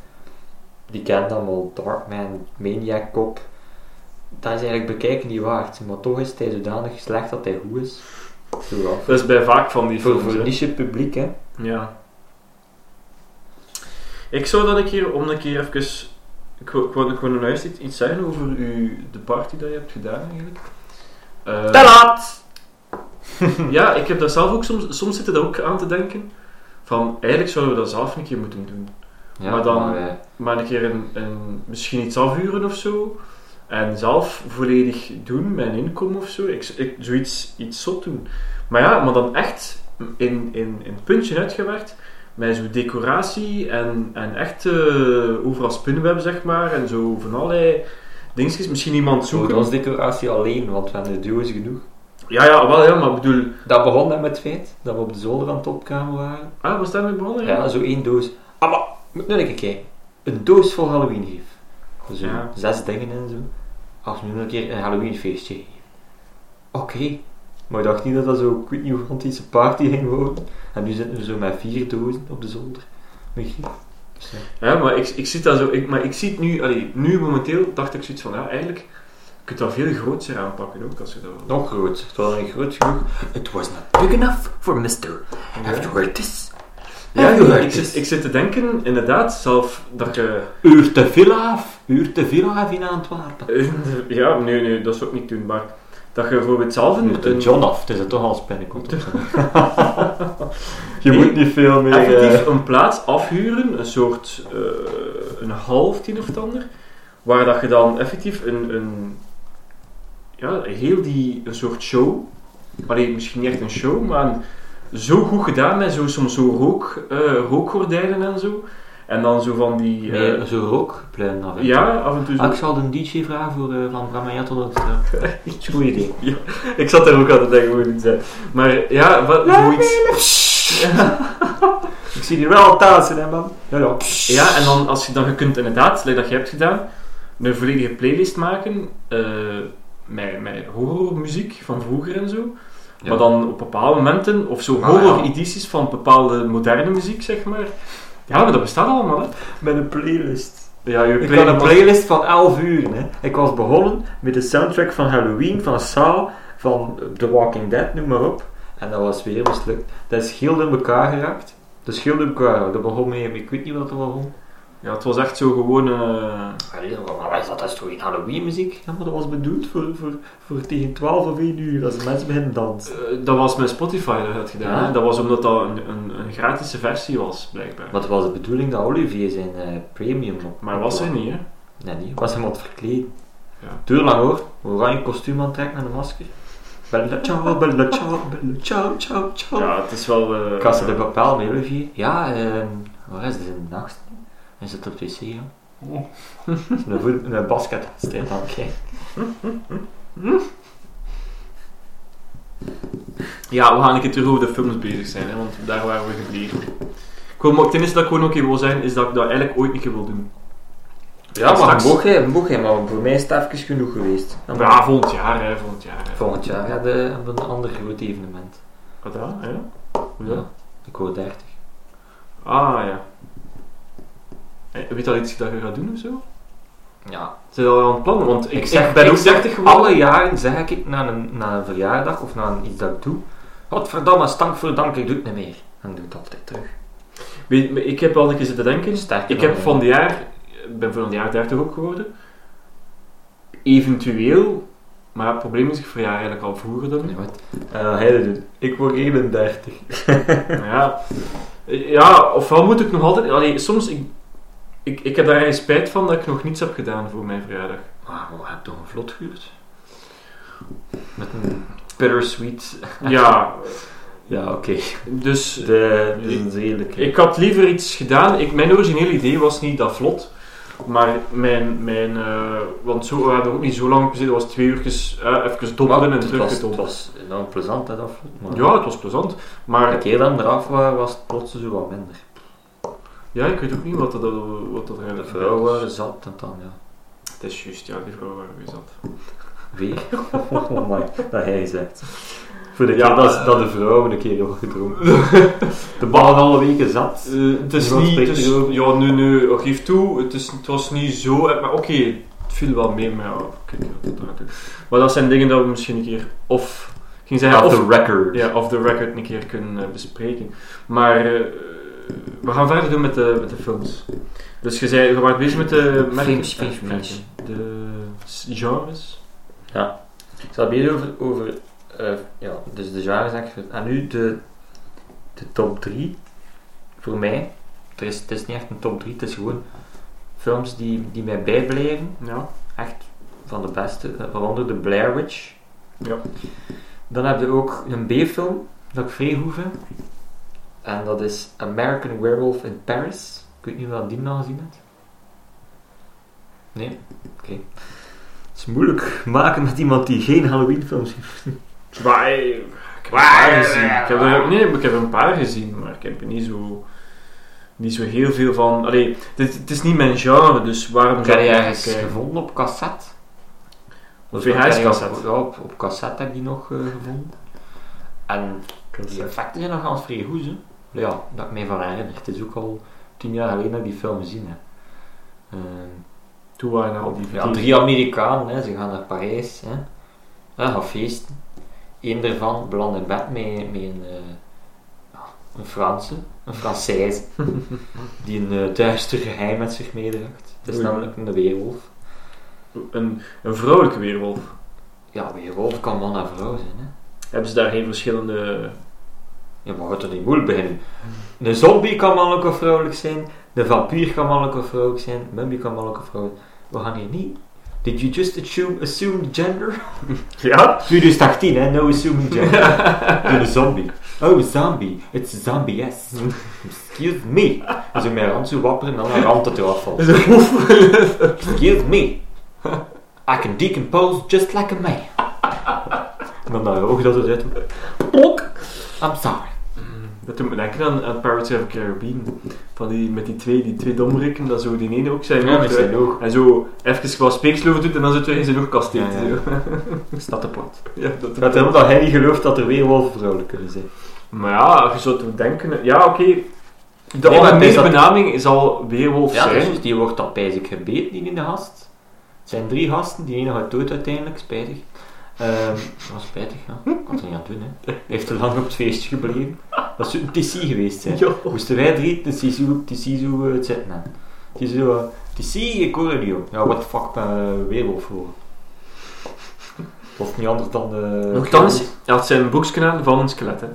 Speaker 1: Die kennen allemaal Darkman, Maniac Cop. Dat is eigenlijk bekijken niet waard, maar toch is hij zodanig slecht dat hij goed is. Zo wel.
Speaker 2: Dat is bij vaak van die
Speaker 1: Voor,
Speaker 2: films.
Speaker 1: voor
Speaker 2: hè.
Speaker 1: niche publiek, hè.
Speaker 2: Ja. Ik zou dat een keer, om een keer even... Ik wou, ik wou, ik wou nog eerst iets, iets zeggen over u, de party dat je hebt gedaan, eigenlijk. Eh,
Speaker 1: Te laat!
Speaker 2: ja, ik heb daar zelf ook soms... Soms zit er ook aan te denken. Van, eigenlijk zouden we dat zelf een keer moeten doen.
Speaker 1: Ja,
Speaker 2: Maar dan-
Speaker 1: eh,
Speaker 2: Maar een keer een, een, misschien iets afhuren of zo. En zelf volledig doen, mijn inkomen of zo. Ik, ik, zoiets iets zot doen. Maar ja, maar dan echt in, in, in het puntje uitgewerkt. Met zo'n decoratie en, en echt eh, overal spinnenweb, zeg maar. En zo van allerlei dingetjes. Misschien iemand
Speaker 1: voor
Speaker 2: zoeken.
Speaker 1: ons decoratie alleen, want we hebben de duo's genoeg.
Speaker 2: Ja, ja, wel ja, maar ik bedoel...
Speaker 1: Dat begon met het feit dat we op de zolder aan het opkamer waren.
Speaker 2: Ah, was daarmee begonnen?
Speaker 1: Ja, zo één doos. Ah, maar, moet nu even kijken. Een doos vol Halloween geef. Zo,
Speaker 2: Ja.
Speaker 1: zes dingen en zo. Als we nu een keer een Halloween feestje geven. Oké. Maar ik dacht niet dat dat zo, ik weet niet hoe rond iets een party ging worden. En nu zitten we zo met vier dozen op de zolder. Met gif. Dus ja.
Speaker 2: Ja, maar ik, ik zie dat zo, ik, maar ik zie het nu, allee, nu momenteel dacht ik zoiets van, ja, eigenlijk, je kunt dat veel groter aanpakken ook, als je dat wil.
Speaker 1: Nog groter, het was niet groot genoeg. It was not big enough for Mr.
Speaker 2: Ja.
Speaker 1: After this.
Speaker 2: Ja,
Speaker 1: Afgewerkt
Speaker 2: Ah, ik,
Speaker 1: is.
Speaker 2: zit, ik zit te denken, inderdaad, zelf dat je...
Speaker 1: Uur te veel af. Uur te veel af in Antwerpen.
Speaker 2: Ja, nee, nee, dat is ook niet doen, maar dat je bijvoorbeeld zelf
Speaker 1: Uur
Speaker 2: een...
Speaker 1: te
Speaker 2: een-
Speaker 1: John af. Het is er toch al spinnenkomt.
Speaker 2: Nee,
Speaker 1: niet veel eh,
Speaker 2: effectief een plaats afhuren, een soort eh, een half tien of het ander, waar dat je dan effectief een, een ja, heel die een soort show, alleen misschien niet echt een show, maar een- zo goed gedaan met zo, soms zo rook, eh, rookgordijnen en zo. En dan zo van die... eh,
Speaker 1: Nee, zo rookplein af en toe.
Speaker 2: ja, af en toe zo.
Speaker 1: Ah, ik zal de DJ vragen voor eh, Van Bram en Jattel. Dat is eh, echt een goed idee.
Speaker 2: Ik zat daar ook aan te denken hoe het zijn. Maar ja, wat, zoiets.
Speaker 1: Ik zie die wel dansen, hè, man. Ja, ja.
Speaker 2: Ja, en dan als je dan je kunt inderdaad, zoals dat je hebt gedaan, een volledige playlist maken eh, met, met horrormuziek van vroeger en zo.
Speaker 1: Ja.
Speaker 2: Maar dan op bepaalde momenten, of zo
Speaker 1: Maar ja.
Speaker 2: horror-edities van bepaalde moderne muziek, zeg maar. Ja, maar dat bestaat allemaal, hè.
Speaker 1: Met een playlist.
Speaker 2: Ja, je
Speaker 1: Ik had een playlist van 11 uur. Hè. Ik was begonnen met de soundtrack van Halloween, van Saw, van The Walking Dead, noem maar op. En dat was weer mislukt. Dat is heel door elkaar geraakt. Dat is heel door elkaar geraakt. Dat begon met, ik weet niet wat dat begon.
Speaker 2: Ja, het was echt zo gewoon... eh,
Speaker 1: Allee, maar wat is dat? Dat is toch geen Halloween muziek? Ja, maar dat was bedoeld voor, voor, voor tegen 12 of 1 uur, als de mensen beginnen dansen.
Speaker 2: eh, dat was met Spotify dat je had gedaan,
Speaker 1: Ja.
Speaker 2: hè. Dat was omdat dat een, een, een gratis versie was, blijkbaar.
Speaker 1: Maar het was de bedoeling dat Olivier zijn eh, premium op.
Speaker 2: Maar was hij niet, hè.
Speaker 1: Nee, niet. Was hem aan het verkleden.
Speaker 2: Ja.
Speaker 1: Duur lang hoor. Oranje kostuum aantrekken en een masker. Bella ciao, bella ciao, bella ciao, ciao, ciao.
Speaker 2: Ja, het is wel... eh,
Speaker 1: Ik had ze de bepaald mee, Olivier. Ja, ehm, waar is het in de nacht? Hij zit op de wc, ja.
Speaker 2: Oh.
Speaker 1: een, voet, een basket steekt aan het kijken.
Speaker 2: Ja, we gaan een keer terug over de films bezig zijn, hè, want daar waren we gebleven. Ik wil, maar het enige dat ik gewoon ook keer wil zijn, is dat ik dat eigenlijk ooit een keer wil doen.
Speaker 1: Ja, maar
Speaker 2: straks-
Speaker 1: mocht hij, mocht hij, maar voor mij is het even genoeg geweest. En dan-
Speaker 2: Ah, Ja, volgend jaar, hè, volgend jaar. Hè.
Speaker 1: Volgend jaar hebben we hebben we een ander groot evenement.
Speaker 2: Wat dan? Ah, Ja? Hoe dat?
Speaker 1: Ik word 30.
Speaker 2: Ah, ja. Eh, Weet je al iets dat je gaat doen of zo?
Speaker 1: Ja,
Speaker 2: Zijn dat al aan het plannen? Want ik,
Speaker 1: Ik
Speaker 2: ik
Speaker 1: zeg-
Speaker 2: ben
Speaker 1: ik
Speaker 2: ook
Speaker 1: zeg
Speaker 2: 30 geworden.
Speaker 1: Alle jaren zeg ik na een, na een verjaardag of na een, iets dat ik doe, godverdamme, stank voor dank, ik doe het niet meer. En doe het altijd terug.
Speaker 2: Weet, maar ik heb wel een keer zitten denken.
Speaker 1: Sterker
Speaker 2: Ik
Speaker 1: dan
Speaker 2: heb
Speaker 1: mij.
Speaker 2: van de jaar, ik ben van de jaar 30 ook geworden. Eventueel, maar het probleem is, ik verjaar eigenlijk al vroeger dan nu.
Speaker 1: Nee, wat? Eh, hij dat doet. Ik word 31.
Speaker 2: Ja. ja, ofwel moet ik nog altijd... Allee, soms, ik, ik, ik heb daar eigenlijk spijt van dat ik nog niets heb gedaan voor mijn verjaardag.
Speaker 1: Maar we hebben toch een vlot gehuurd? Met een bittersweet.
Speaker 2: Ja,
Speaker 1: Ja, oké.
Speaker 2: dus
Speaker 1: De, de is redelijk.
Speaker 2: ik had liever iets gedaan. Ik, mijn originele idee was niet dat vlot. Maar mijn... mijn eh, want zo, we hadden ook niet zo lang op gezeten. Het was twee uurtjes eh, even dobbelen en
Speaker 1: het, was, het
Speaker 2: teruggedobbeld.
Speaker 1: was enorm plezant, hè, dat vlot. Maar
Speaker 2: Ja, het was plezant.
Speaker 1: de
Speaker 2: Maar
Speaker 1: keer dat we eraf waren, was het plots zo wat minder.
Speaker 2: ja, ik weet ook niet wat dat, wat dat
Speaker 1: De
Speaker 2: eigenlijk
Speaker 1: vrouwen waren zat en dan, ja.
Speaker 2: Het is juist, ja, die vrouw waar we zat.
Speaker 1: Weer? Oh my, dat hij zegt. Voor de
Speaker 2: Ja,
Speaker 1: keer dat,
Speaker 2: eh,
Speaker 1: dat de vrouwen een keer hebben gedronken. De baan alle weken zat.
Speaker 2: Eh, het is
Speaker 1: Wat
Speaker 2: niet.
Speaker 1: spreekt
Speaker 2: het is-
Speaker 1: erover?
Speaker 2: ja, nu, nu, ik geef toe, het, is, het was niet zo. eh, Maar oké, het viel wel mee. Maar, ja, oh, kijk, ja, dat draait ook. maar dat zijn dingen dat we misschien een keer of ging zeggen,
Speaker 1: Off
Speaker 2: of,
Speaker 1: the record.
Speaker 2: ja, off the record een keer kunnen eh, bespreken. Maar eh, we gaan verder doen met de, met de films. Dus je, zei, je was bezig met de merken.
Speaker 1: Films, films,
Speaker 2: eh, merken. De s- genres.
Speaker 1: Ik zal hier over, over eh, ja, dus de jaren zeg ik. En nu de, de top 3. Voor mij. Er is, het is niet echt een top 3, het is gewoon films die, die mij bijblijven.
Speaker 2: Ja.
Speaker 1: echt van de beste, eh, waaronder de Blair Witch.
Speaker 2: Ja.
Speaker 1: Dan heb je ook een B-film dat ik vrij goed vind. En dat is American Werewolf in Paris. Ik weet niet of je die nou gezien hebt. Nee? Oké. Het is moeilijk maken met iemand die geen Halloween-films heeft.
Speaker 2: Zwaai. Ik heb een paar gezien. Ik heb er, nee, maar ik heb er een paar gezien, maar ik heb er niet zo, niet zo heel veel van. Allee, dit, het is niet mijn genre, dus waarom
Speaker 1: Heb
Speaker 2: zou
Speaker 1: je
Speaker 2: ik eh,
Speaker 1: ergens
Speaker 2: kijken?
Speaker 1: gevonden op cassette?
Speaker 2: Op
Speaker 1: Dus dat heb ik op-
Speaker 2: VHS-cassette.
Speaker 1: Ja, op, op cassette heb ik die nog eh, gevonden. En Die effecten zijn nog al vrij goed, hè? Ja, dat ik mij van herinner. Het is ook al tien jaar geleden dat ik die film gezien heb. Eh,
Speaker 2: Toen waren al die
Speaker 1: ja, drie Amerikanen, hè, ze gaan naar Parijs, hè. Ja, gaan feesten. Eén daarvan belandt in bed met, met een, eh, ja, Een Franse, een Française, die een eh, duister geheim met zich meedraagt. Het is
Speaker 2: Oei.
Speaker 1: namelijk een weerwolf.
Speaker 2: Een, een vrouwelijke weerwolf.
Speaker 1: Ja, weerwolf kan man en vrouw zijn, hè.
Speaker 2: Hebben ze daar geen verschillende...
Speaker 1: Ja, maar gaat er niet moeilijk beginnen. Een zombie kan mannelijk of vrouwelijk zijn. De vampier kan mannelijk of vrouwelijk zijn. Mummy kan mannelijk of vrouwelijk We gaan hier niet... Did you just assume, assume gender?
Speaker 2: Ja?
Speaker 1: 2018, dus hè? No assuming gender. Een zombie. Oh, zombie. It's zombie, yes. Excuse me. Als ik mijn rand zo wapper en dan mijn rand dat eraf valt. Excuse me. I can decompose just like a man. En dan dat oog dat het uit... Plok. I'm sorry.
Speaker 2: Dat doet me denken aan, aan Pirates of the Caribbean. Van die, met die twee, die twee domrikken, dat zo die ene ook zijn
Speaker 1: Ja,
Speaker 2: oog
Speaker 1: met
Speaker 2: doet.
Speaker 1: zijn oog.
Speaker 2: En zo even wat speeksloof doet en dan zit hij in zijn oog kasteelt.
Speaker 1: Ja, ja.
Speaker 2: Zo.
Speaker 1: Staat te plat.
Speaker 2: Ja, dat
Speaker 1: Dat helemaal dat hij niet gelooft dat er weerwolven vrouwelijk kunnen zijn.
Speaker 2: Maar ja, als je zo te denken... Ja, oké. De
Speaker 1: Nee, maar het is
Speaker 2: algemene
Speaker 1: dat-
Speaker 2: benaming zal weerwolf
Speaker 1: Ja,
Speaker 2: zijn.
Speaker 1: dus die wordt dan pijzig gebeten, die in de gast. Het zijn drie gasten, die ene gaat dood uiteindelijk, spijtig. Ehm dat was spijtig, ja. Kon er niet aan doen, hè. Hij heeft te lang op het feestje gebleven. Dat zou een TC geweest zijn.
Speaker 2: Ja.
Speaker 1: Moesten wij drie de Sisu, de Sisu eh, het zetten aan. Die zo, eh, TC, ik hoor het niet, joh. Ja, Nou, what the fuck, ben eh, weerwolf voor. Of niet anders dan eh, de...
Speaker 2: Ook dan is... Ja, het zijn broeksken aan van een skelet, hè.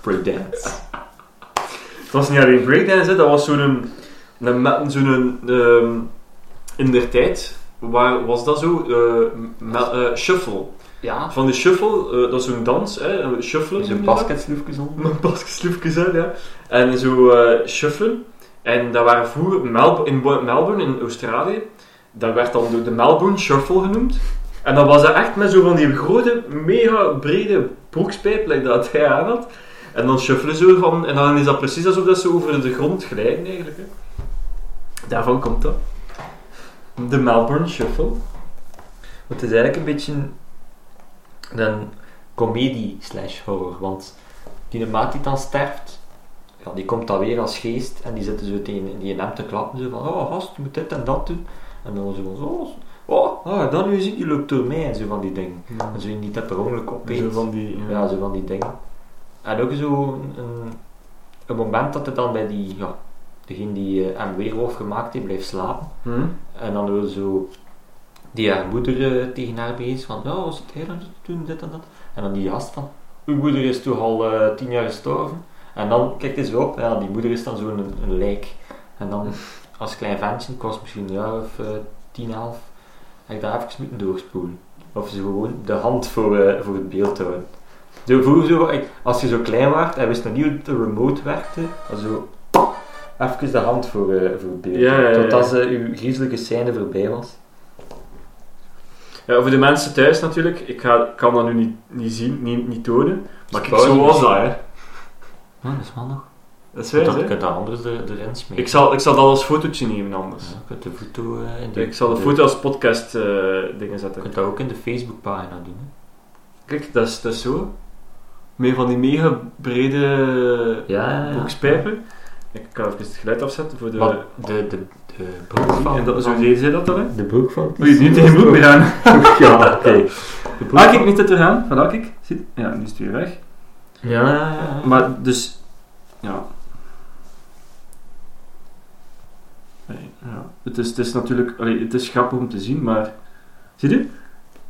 Speaker 1: Breakdance.
Speaker 2: Het was niet alleen breakdance, hè, dat was zo'n... Een, een, metten- zo'n... ehm, in der tijd... Waar was dat zo? Eh, me- eh, shuffle.
Speaker 1: Ja.
Speaker 2: Van de shuffle, eh, dat is zo'n dans, hè? eh, Shuffelen.
Speaker 1: Is een
Speaker 2: noem je dat?
Speaker 1: basketsloefjes onder.
Speaker 2: Met basketsloefjes uit, ja. En zo eh shuffelen. En dat waren vroeger Melb- in Bo- Melbourne, in Australië. Dat werd dan door de Melbourne Shuffle genoemd. En dan was dat echt met zo van die grote, mega brede broekspijp, like dat hij aan had. En dan shuffelen ze van, en dan is dat precies alsof dat ze over de grond glijden eigenlijk. Hè. Daarvan komt dat. De Melbourne Shuffle.
Speaker 1: Want het is eigenlijk een beetje een comedie slash horror. Want die maat die dan sterft, ja, die komt dan weer als geest en die zitten zo tegen die in hem te klappen. Zo van, oh gast, je moet dit en dat doen. En dan zo van, oh, oh, ah, dan nu ziet je loopt door mij en zo van die dingen. En zo niet dat per ongeluk opeet.
Speaker 2: Zo van die... ja.
Speaker 1: Ja, zo van die dingen. En ook zo een, een, een moment dat het dan bij die, ja, degene die eh, hem weerwolf gemaakt heeft, blijft slapen.
Speaker 2: Hm?
Speaker 1: En dan wil zo die haar moeder eh, tegen haar bezig van, ja, was het heel te doen, dit en dat. En dan die gast van, uw moeder is toch al eh, tien jaar gestorven. En dan kijkt hij zo op, ja, die moeder is dan zo'n een, een lijk. En dan, als klein ventje, ik was misschien een jaar of eh, tien, elf, heb ik daar even moeten doorspoelen. Of ze gewoon de hand voor, eh, voor het beeld houden. Zo, vroeger zo, ik- als je zo klein was en wist nog niet hoe de remote werkte, dan zo even de hand voor, eh, voor het beeld.
Speaker 2: Ja, ja, ja, ja.
Speaker 1: Totdat ze uw griezelijke scène voorbij was.
Speaker 2: Ja, voor de mensen thuis natuurlijk, ik ga, kan dat nu niet, niet zien, niet, niet tonen. Maar kijk,
Speaker 1: Pauze.
Speaker 2: zo was dat, hè.
Speaker 1: Ja, dat is wel nog.
Speaker 2: Dat is
Speaker 1: Je
Speaker 2: wijs,
Speaker 1: kunt,
Speaker 2: hè.
Speaker 1: dat anders er, erin smeren.
Speaker 2: Ik zal, ik zal dat als fotootje nemen anders.
Speaker 1: Ja, je kunt de foto eh, in de,
Speaker 2: Ik zal de
Speaker 1: de-
Speaker 2: foto als podcast eh, dingen
Speaker 1: Je
Speaker 2: zetten.
Speaker 1: kunt dat ook in de Facebookpagina doen. Hè.
Speaker 2: Kijk, dat is, dat is zo. Meer van die mega brede
Speaker 1: Ja, ja, ja.
Speaker 2: broekspijpen. Ik kan even het geluid afzetten voor de...
Speaker 1: Maar de, de, de broek van...
Speaker 2: en dat, zo deed zij dat dan, hè.
Speaker 1: De broek van...
Speaker 2: Moet je nu tegen broek weer aan.
Speaker 1: Ja, oké. De broek
Speaker 2: Ah, kijk,
Speaker 1: van-
Speaker 2: niet dat er aan. Vandaar, kijk. Ziet? Ja, nu is het weer weg.
Speaker 1: Ja, ja, ja.
Speaker 2: Maar dus, ja. Nee, ja. Het, is, het is natuurlijk, allee, het is grappig om te zien, maar. Zie je?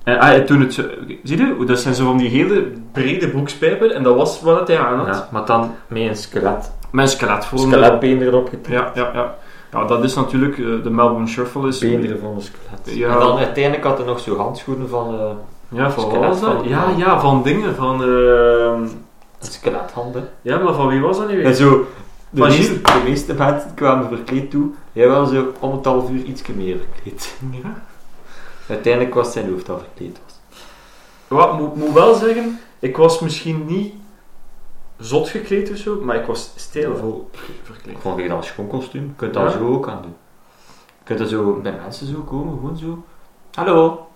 Speaker 2: En, ah, en toen het, zo- zie je? Dat zijn zo van die hele brede broekspijpen en dat was wat hij aan had.
Speaker 1: Ja, maar dan met een skelet.
Speaker 2: Mijn skeletvorm.
Speaker 1: Skeletbeenderen opgetrokken.
Speaker 2: Ja, ja, ja. Ja, dat is natuurlijk eh, de Melbourne Shuffle. Is,
Speaker 1: Beenderen van een skelet.
Speaker 2: Ja.
Speaker 1: En dan uiteindelijk had hij nog zo handschoenen van eh
Speaker 2: Ja, van wat
Speaker 1: Skelet
Speaker 2: was dat?
Speaker 1: van-
Speaker 2: Ja, ja, van dingen. Van, ehm,
Speaker 1: een skelethanden.
Speaker 2: ja, maar van wie was dat nu weer?
Speaker 1: En zo... De
Speaker 2: Van
Speaker 1: meeste,
Speaker 2: Gilles.
Speaker 1: de meeste mensen kwamen verkleed toe. Jij wel zo om het half uur ietsje meer verkleed.
Speaker 2: Ja.
Speaker 1: Uiteindelijk was zijn hoofd al verkleed was.
Speaker 2: Wat moet moet wel zeggen, ik was misschien niet zot gekleed of zo, maar ik was stijlvol verkleed.
Speaker 1: Gewoon weer als schoonkostuum. Je kunt dat
Speaker 2: Ja.
Speaker 1: zo ook aan doen. Je kunt er zo bij mensen zo komen, gewoon zo. Hallo,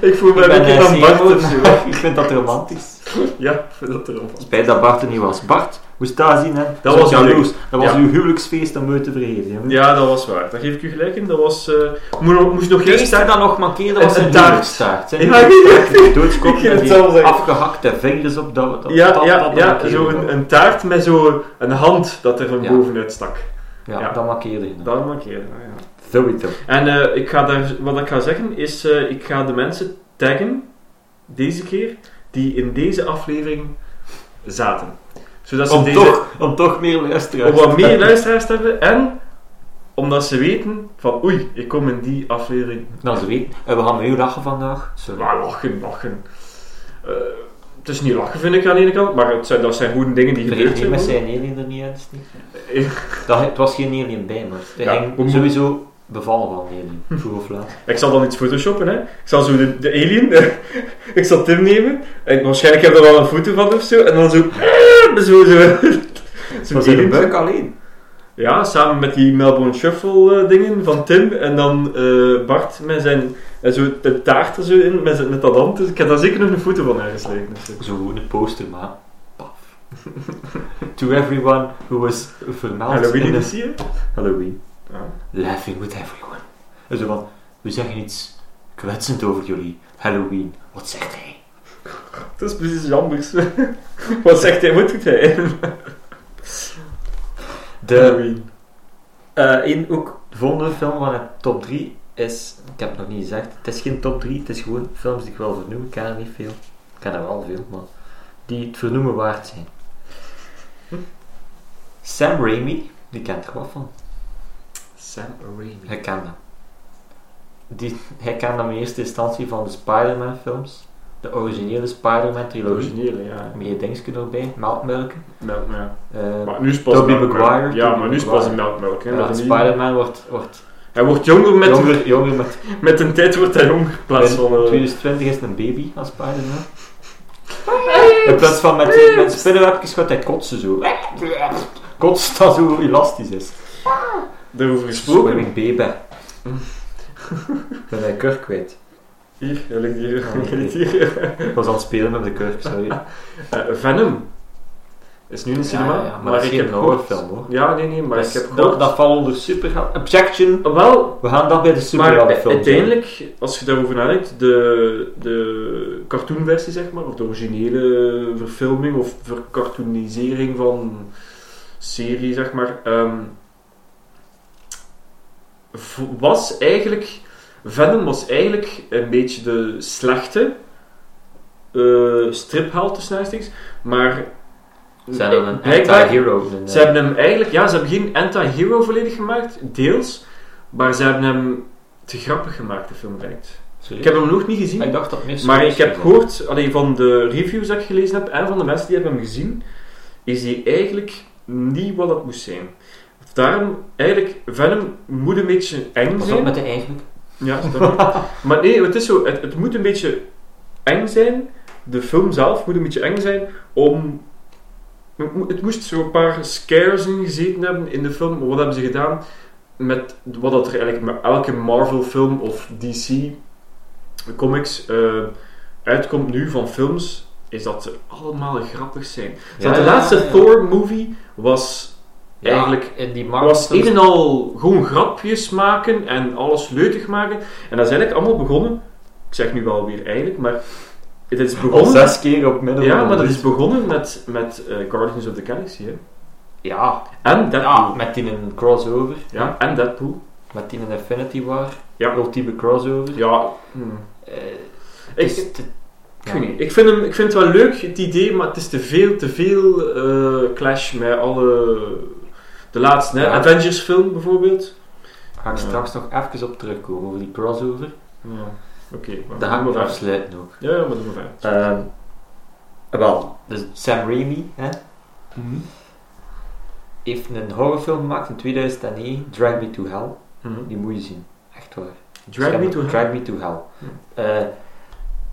Speaker 2: Ik voel
Speaker 1: ik
Speaker 2: mij een
Speaker 1: ben
Speaker 2: beetje
Speaker 1: eh,
Speaker 2: van Bart
Speaker 1: Simon.
Speaker 2: of zo.
Speaker 1: ik vind dat romantisch.
Speaker 2: Ja, dat erop.
Speaker 1: Spijt dat Bart er niet was. Bart, moest daar zien, hè. Zo
Speaker 2: was een
Speaker 1: jaloers. Dat was
Speaker 2: Ja.
Speaker 1: uw huwelijksfeest om uit te vergeten. hè.
Speaker 2: Ja, dat was waar. Dat geef ik u gelijk in. Dat was... eh moest, nog- moest nog
Speaker 1: Het
Speaker 2: geen
Speaker 1: eerste
Speaker 2: taart...
Speaker 1: dat nog mankeerde
Speaker 2: Een-
Speaker 1: was
Speaker 2: een
Speaker 1: een
Speaker 2: taart.
Speaker 1: doodstaart. Zijn
Speaker 2: Ja,
Speaker 1: doodstaart, doodskop
Speaker 2: Ik ging
Speaker 1: met
Speaker 2: het
Speaker 1: die
Speaker 2: zelf zeggen.
Speaker 1: afgehakte vingers op dat... dat dat-
Speaker 2: Ja,
Speaker 1: dat-
Speaker 2: ja,
Speaker 1: dat
Speaker 2: ja.
Speaker 1: mankeerde
Speaker 2: Zo
Speaker 1: nog.
Speaker 2: een, een taart met zo een hand dat er van
Speaker 1: Ja.
Speaker 2: bovenuit stak.
Speaker 1: Ja,
Speaker 2: ja.
Speaker 1: dat mankeerde je nog.
Speaker 2: Dat markeerde ik, ja.
Speaker 1: Sowieso.
Speaker 2: En eh, ik ga daar, wat ik ga zeggen is, eh, ik ga de mensen taggen, deze keer, die in deze aflevering zaten. Zodat ze
Speaker 1: Om,
Speaker 2: deze
Speaker 1: toch, om toch meer luisteraars
Speaker 2: om wat
Speaker 1: te
Speaker 2: meer
Speaker 1: hebben.
Speaker 2: luisteraars te hebben en omdat ze weten van oei, ik kom in die aflevering.
Speaker 1: Nou, ze weten. En we gaan heel lachen vandaag. Sorry.
Speaker 2: Maar lachen, lachen. Eh, het is niet lachen vind ik aan de ene kant, maar het zijn, dat zijn goede dingen die
Speaker 1: Vergeet
Speaker 2: gebeurd
Speaker 1: niet
Speaker 2: zijn.
Speaker 1: met
Speaker 2: man.
Speaker 1: zijn alien er niet uit. is niet-
Speaker 2: Eh,
Speaker 1: Dat, het was geen alien bij, maar het
Speaker 2: Ja, we
Speaker 1: ging
Speaker 2: moeten-
Speaker 1: sowieso bevallen van alien. Vroeg of laat.
Speaker 2: Ik zal dan iets photoshoppen, hè. Ik zal zo de, de alien... ik zal Tim nemen. En waarschijnlijk heb ik er wel een foto van of zo. En dan zo... zo, zo zo'n
Speaker 1: Was een
Speaker 2: alien.
Speaker 1: buik alleen?
Speaker 2: Ja, samen met die Melbourne Shuffle eh, dingen van Tim. En dan eh, Bart met zijn... En zo de taart er zo in, met, zijn- met dat hand. Dus ik heb daar zeker nog een foto van dus, eh. ergens liggen. of zo.
Speaker 1: Zo gewoon een poster, maar... Paf. to everyone who was vermeld
Speaker 2: Halloween
Speaker 1: in
Speaker 2: is
Speaker 1: this
Speaker 2: hier.
Speaker 1: Halloween.
Speaker 2: Ja.
Speaker 1: Laughing with everyone. En zo van, we zeggen iets kwetsend over jullie. Halloween, wat zegt hij?
Speaker 2: Dat is precies iets anders. Wat zegt hij? Wat doet hij?
Speaker 1: De, eh in, ook de volgende film van de top 3 is, ik heb het nog niet gezegd, het is geen top 3, het is gewoon films die ik wel vernoem. Ik ken er niet veel. Ik ken er wel veel, maar die het vernoemen waard zijn. Sam Raimi, die kent er wat van.
Speaker 2: Sam Raimi.
Speaker 1: Hij kent hem. Die, hij kent hem in eerste instantie van de Spider-Man films. De originele Spider-Man
Speaker 2: De
Speaker 1: trilogie.
Speaker 2: originele, ja.
Speaker 1: Meer dingetjes erbij, melkmelken.
Speaker 2: Melk, ja.
Speaker 1: Eh,
Speaker 2: Maar nu is pas
Speaker 1: Tobey
Speaker 2: melk,
Speaker 1: Maguire,
Speaker 2: melk. Ja,
Speaker 1: Tobey
Speaker 2: maar nu is
Speaker 1: Maguire.
Speaker 2: pas een melkmelk. Hè?
Speaker 1: ja,
Speaker 2: Dat is niet-
Speaker 1: Spider-Man wordt, wordt
Speaker 2: Hij wordt jonger met,
Speaker 1: jonger, jonger met
Speaker 2: met een tijd wordt hij jonger. In plaats van... eh,
Speaker 1: 2020 is het een baby als Spider-Man. In plaats van met, met spinnenwebjes gaat hij kotsen zo. Kotsen dat zo elastisch is.
Speaker 2: daarover gesproken.
Speaker 1: Swimming baby. ben mijn kurk kwijt.
Speaker 2: Hier, hij ligt hier.
Speaker 1: Ah,
Speaker 2: Hij
Speaker 1: oké.
Speaker 2: ligt hier.
Speaker 1: Ik was aan het spelen met de kurk, sorry.
Speaker 2: Eh, Venom. Is nu in de cinema.
Speaker 1: ja, ja, maar dat is
Speaker 2: ik
Speaker 1: geen
Speaker 2: heb gehoord...
Speaker 1: horrorfilm hoor.
Speaker 2: Ja, nee, nee, maar
Speaker 1: Dat
Speaker 2: ik
Speaker 1: is-
Speaker 2: heb gehoord...
Speaker 1: dat, dat valt onder super... Objection!
Speaker 2: Wel,
Speaker 1: We gaan dat bij de super
Speaker 2: maar
Speaker 1: film doen.
Speaker 2: uiteindelijk, als je daarover nadenkt, de, de cartoonversie, zeg maar, of de originele verfilming of vercartoonisering van serie, zeg maar, ehm, v- was eigenlijk, Venom was eigenlijk een beetje de slechte eh stripheld tussen aanhalingstekens, maar
Speaker 1: Zijn we een
Speaker 2: blijkbaar-
Speaker 1: anti-hero. in, eh,
Speaker 2: ze hebben hem eigenlijk, ja, ze hebben geen anti-hero volledig gemaakt, deels, maar ze hebben hem te grappig gemaakt, de film lijkt.
Speaker 1: sorry.
Speaker 2: Ik heb hem nog niet gezien,
Speaker 1: Ik dacht dat meer
Speaker 2: maar ik
Speaker 1: scooters
Speaker 2: heb
Speaker 1: zijn.
Speaker 2: gehoord, allee, van de reviews dat ik gelezen heb en van de mensen die hebben hem gezien, is hij eigenlijk niet wat dat moest zijn. Daarom, eigenlijk, Venom moet een beetje eng
Speaker 1: Pas op
Speaker 2: zijn.
Speaker 1: met de eigenlijk.
Speaker 2: Ja, snap ik. maar nee, het is zo, het, het moet een beetje eng zijn. De film zelf moet een beetje eng zijn om. het mo- Het moest zo'n paar scares in gezeten hebben in de film. Maar wat hebben ze gedaan met wat dat er eigenlijk met elke Marvel-film of DC-comics eh, uitkomt nu van films? Is dat ze allemaal grappig zijn. Want de laatste Thor-movie was eigenlijk
Speaker 1: in die
Speaker 2: maar was
Speaker 1: markt.
Speaker 2: een en al gewoon grapjes maken en alles leutig maken. En dat is eigenlijk allemaal begonnen. Ik zeg nu wel weer eigenlijk, maar het is begonnen.
Speaker 1: zes dus. keer op midden.
Speaker 2: Ja, maar dat is begonnen met, met eh, Guardians of the Galaxy. Hè.
Speaker 1: Ja,
Speaker 2: En
Speaker 1: ja,
Speaker 2: Deadpool.
Speaker 1: met die een crossover.
Speaker 2: Ja, en Deadpool.
Speaker 1: Met die een Infinity War.
Speaker 2: Ja.
Speaker 1: Ultieme crossover.
Speaker 2: Ja, hm.
Speaker 1: Eh,
Speaker 2: ik,
Speaker 1: dus
Speaker 2: ik,
Speaker 1: het-
Speaker 2: ik weet niet. Ik vind, hem, ik vind het wel leuk, het idee, maar het is te veel, te veel eh, clash met alle. De laatste, hè?
Speaker 1: Ja.
Speaker 2: Avengers-film bijvoorbeeld.
Speaker 1: Daar ga ik
Speaker 2: Ja.
Speaker 1: straks nog even op terugkomen over die crossover.
Speaker 2: Ja. Oké, maar
Speaker 1: Daar ga
Speaker 2: doen
Speaker 1: ik me
Speaker 2: we verder.
Speaker 1: afsluiten ook.
Speaker 2: Ja, ja, maar doen we verder.
Speaker 1: Ehm, wel, dus Sam Raimi hè, heeft een horrorfilm gemaakt in 2009, Drag Me to Hell.
Speaker 2: Mhm.
Speaker 1: Die moet je zien, echt waar.
Speaker 2: Drag me to hell.
Speaker 1: Drag Me to Hell. Eh,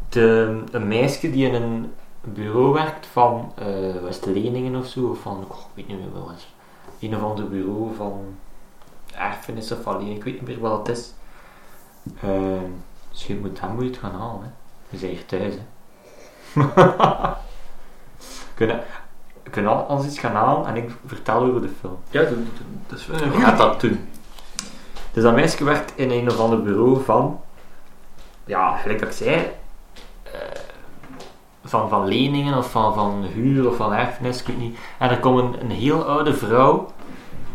Speaker 1: de, een meisje die in een bureau werkt van eh was het Leningen of zo, of van, goh, ik weet niet meer wat het was. Een of ander bureau van erfenis of van Leningen, ik weet niet meer wat het is. Eh, dus je moet, dan moet je het gaan halen. Hè. We zijn hier thuis. Hè. kunnen, we kunnen al ons iets gaan halen en ik vertel over de film.
Speaker 2: Ja, dat, dat- dat is wel een
Speaker 1: Eh, Hoe gaat dat doen? Dus dat meisje werkt in een of ander bureau van, ja, gelijk dat ik zei, eh, van, van leningen of van, van huur of van erfenis, ik weet niet. En er komt een, een heel oude vrouw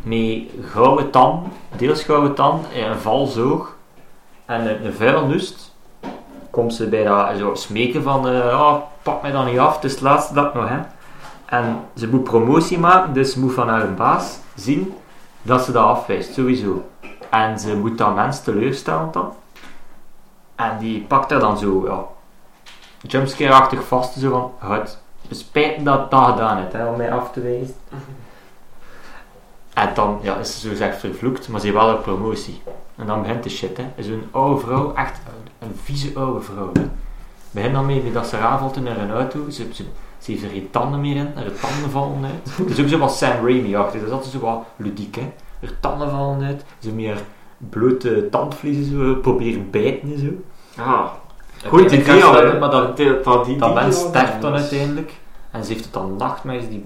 Speaker 1: met gouden tan, deels gouden tan, en een valzoog en een, een vuilnust. Komt ze bij dat zo smeken van, eh, "Ah, pak mij dan niet af, het is de laatste dag nog hè. En ze moet promotie maken, dus ze moet van haar baas zien dat ze dat afwijst, sowieso. En ze moet dat mens teleurstellen dan. En die pakt haar dan zo, ja, jumpscare-achtig vast, zo van, het spijt me dat je dat gedaan hebt, hè, om mij af te wijzen. En dan ja, is ze zogezegd vervloekt, maar ze heeft wel een promotie. En dan begint de shit, hè. Zo'n oude vrouw, echt een vieze oude vrouw, hè. Begin dan mee dat ze rafelt in haar auto, ze, ze, ze heeft er geen tanden meer in, haar tanden vallen uit. Het is ook zo wat Sam Raimi-achtig, dat is altijd zo wat ludiek, hè er tanden vallen uit, ze meer blote tandvliezen zo, proberen bijten en zo.
Speaker 2: Ah,
Speaker 1: Goed
Speaker 2: goed idee al, hè, maar dat, dat, dat, die,
Speaker 1: dat
Speaker 2: die-
Speaker 1: mens
Speaker 2: die-
Speaker 1: sterft dan uiteindelijk en ze heeft het dan nachtmerries. Die...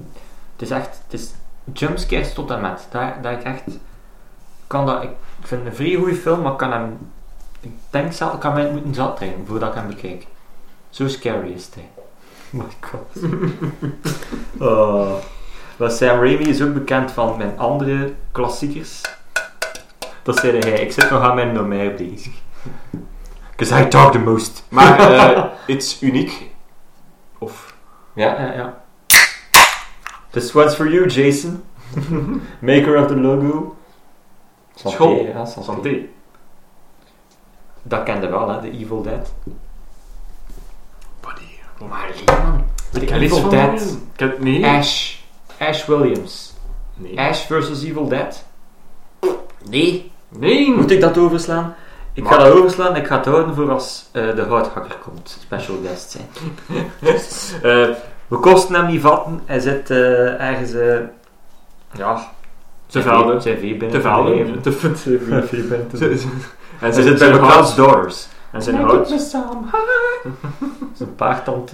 Speaker 1: Het is echt, het is jumpscares tot en met. Daar, daar ik echt, kan dat, ik vind het een vrij goede film, maar ik kan hem, ik denk zelf, ik kan mij moeten zat trainen voordat ik hem bekijk. Zo scary is hij. my god. oh. Maar Sam Raimi is ook bekend van mijn andere klassiekers. Dat zei hij, ik zit nog aan mijn nomair bezig. Because I talk the most.
Speaker 2: Maar eh iets uniek. Of
Speaker 1: Ja, ja, ja. This one's for you, Jason. Maker of the logo. Santé,
Speaker 2: School.
Speaker 1: ja, santé.
Speaker 2: santé.
Speaker 1: Dat kende wel, hè, de Evil Dead.
Speaker 2: Buddy.
Speaker 1: Maar man. De
Speaker 2: Ik heb iets
Speaker 1: Evil
Speaker 2: van
Speaker 1: Dead.
Speaker 2: Ik heb, nee.
Speaker 1: Ash. Ash Williams.
Speaker 2: Nee.
Speaker 1: Ash versus Evil Dead. Nee.
Speaker 2: Nee.
Speaker 1: Moet ik dat overslaan? Ik
Speaker 2: Maar-
Speaker 1: ga dat overslaan. Ik ga het houden voor als eh, de houthakker komt. Special guest zijn.
Speaker 2: Eh,
Speaker 1: We kosten hem niet vatten. Hij zit eh, ergens... eh ja.
Speaker 2: Te velden.
Speaker 1: Zijn vee binnen.
Speaker 2: te
Speaker 1: leven.
Speaker 2: velden. Te te- te-
Speaker 1: Ze-
Speaker 2: te- En
Speaker 1: Ze zit bij
Speaker 2: zijn zijn
Speaker 1: McCloud's
Speaker 2: hout.
Speaker 1: Daughters.
Speaker 2: En zijn hout.
Speaker 1: Is een paardtand...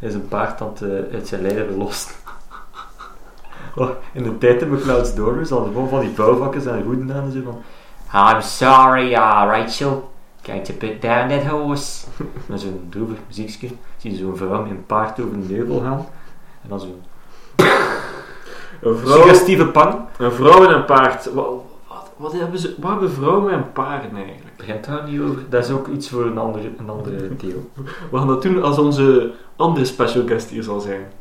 Speaker 1: is een paardtand uit zijn lijden verlost. Oh, in de tijd in McCloud's Daughters hadden gewoon van die bouwvakkers en hoeden aan en zo van... "Ah, I'm sorry, uh, Rachel. Can't you put down that horse? Met zo'n droevig muziekje. Zie je zo'n vrouw met een paard over de nevel gaan. En dan zo'n
Speaker 2: Een vrouw,
Speaker 1: suggestieve pan.
Speaker 2: een vrouw en een paard. Wat, wat, wat hebben ze... Wat hebben vrouwen en paarden eigenlijk?
Speaker 1: Begint daar niet over. Dat is ook iets voor een ander een andere deel.
Speaker 2: We gaan dat doen als onze andere special guest hier zal zijn.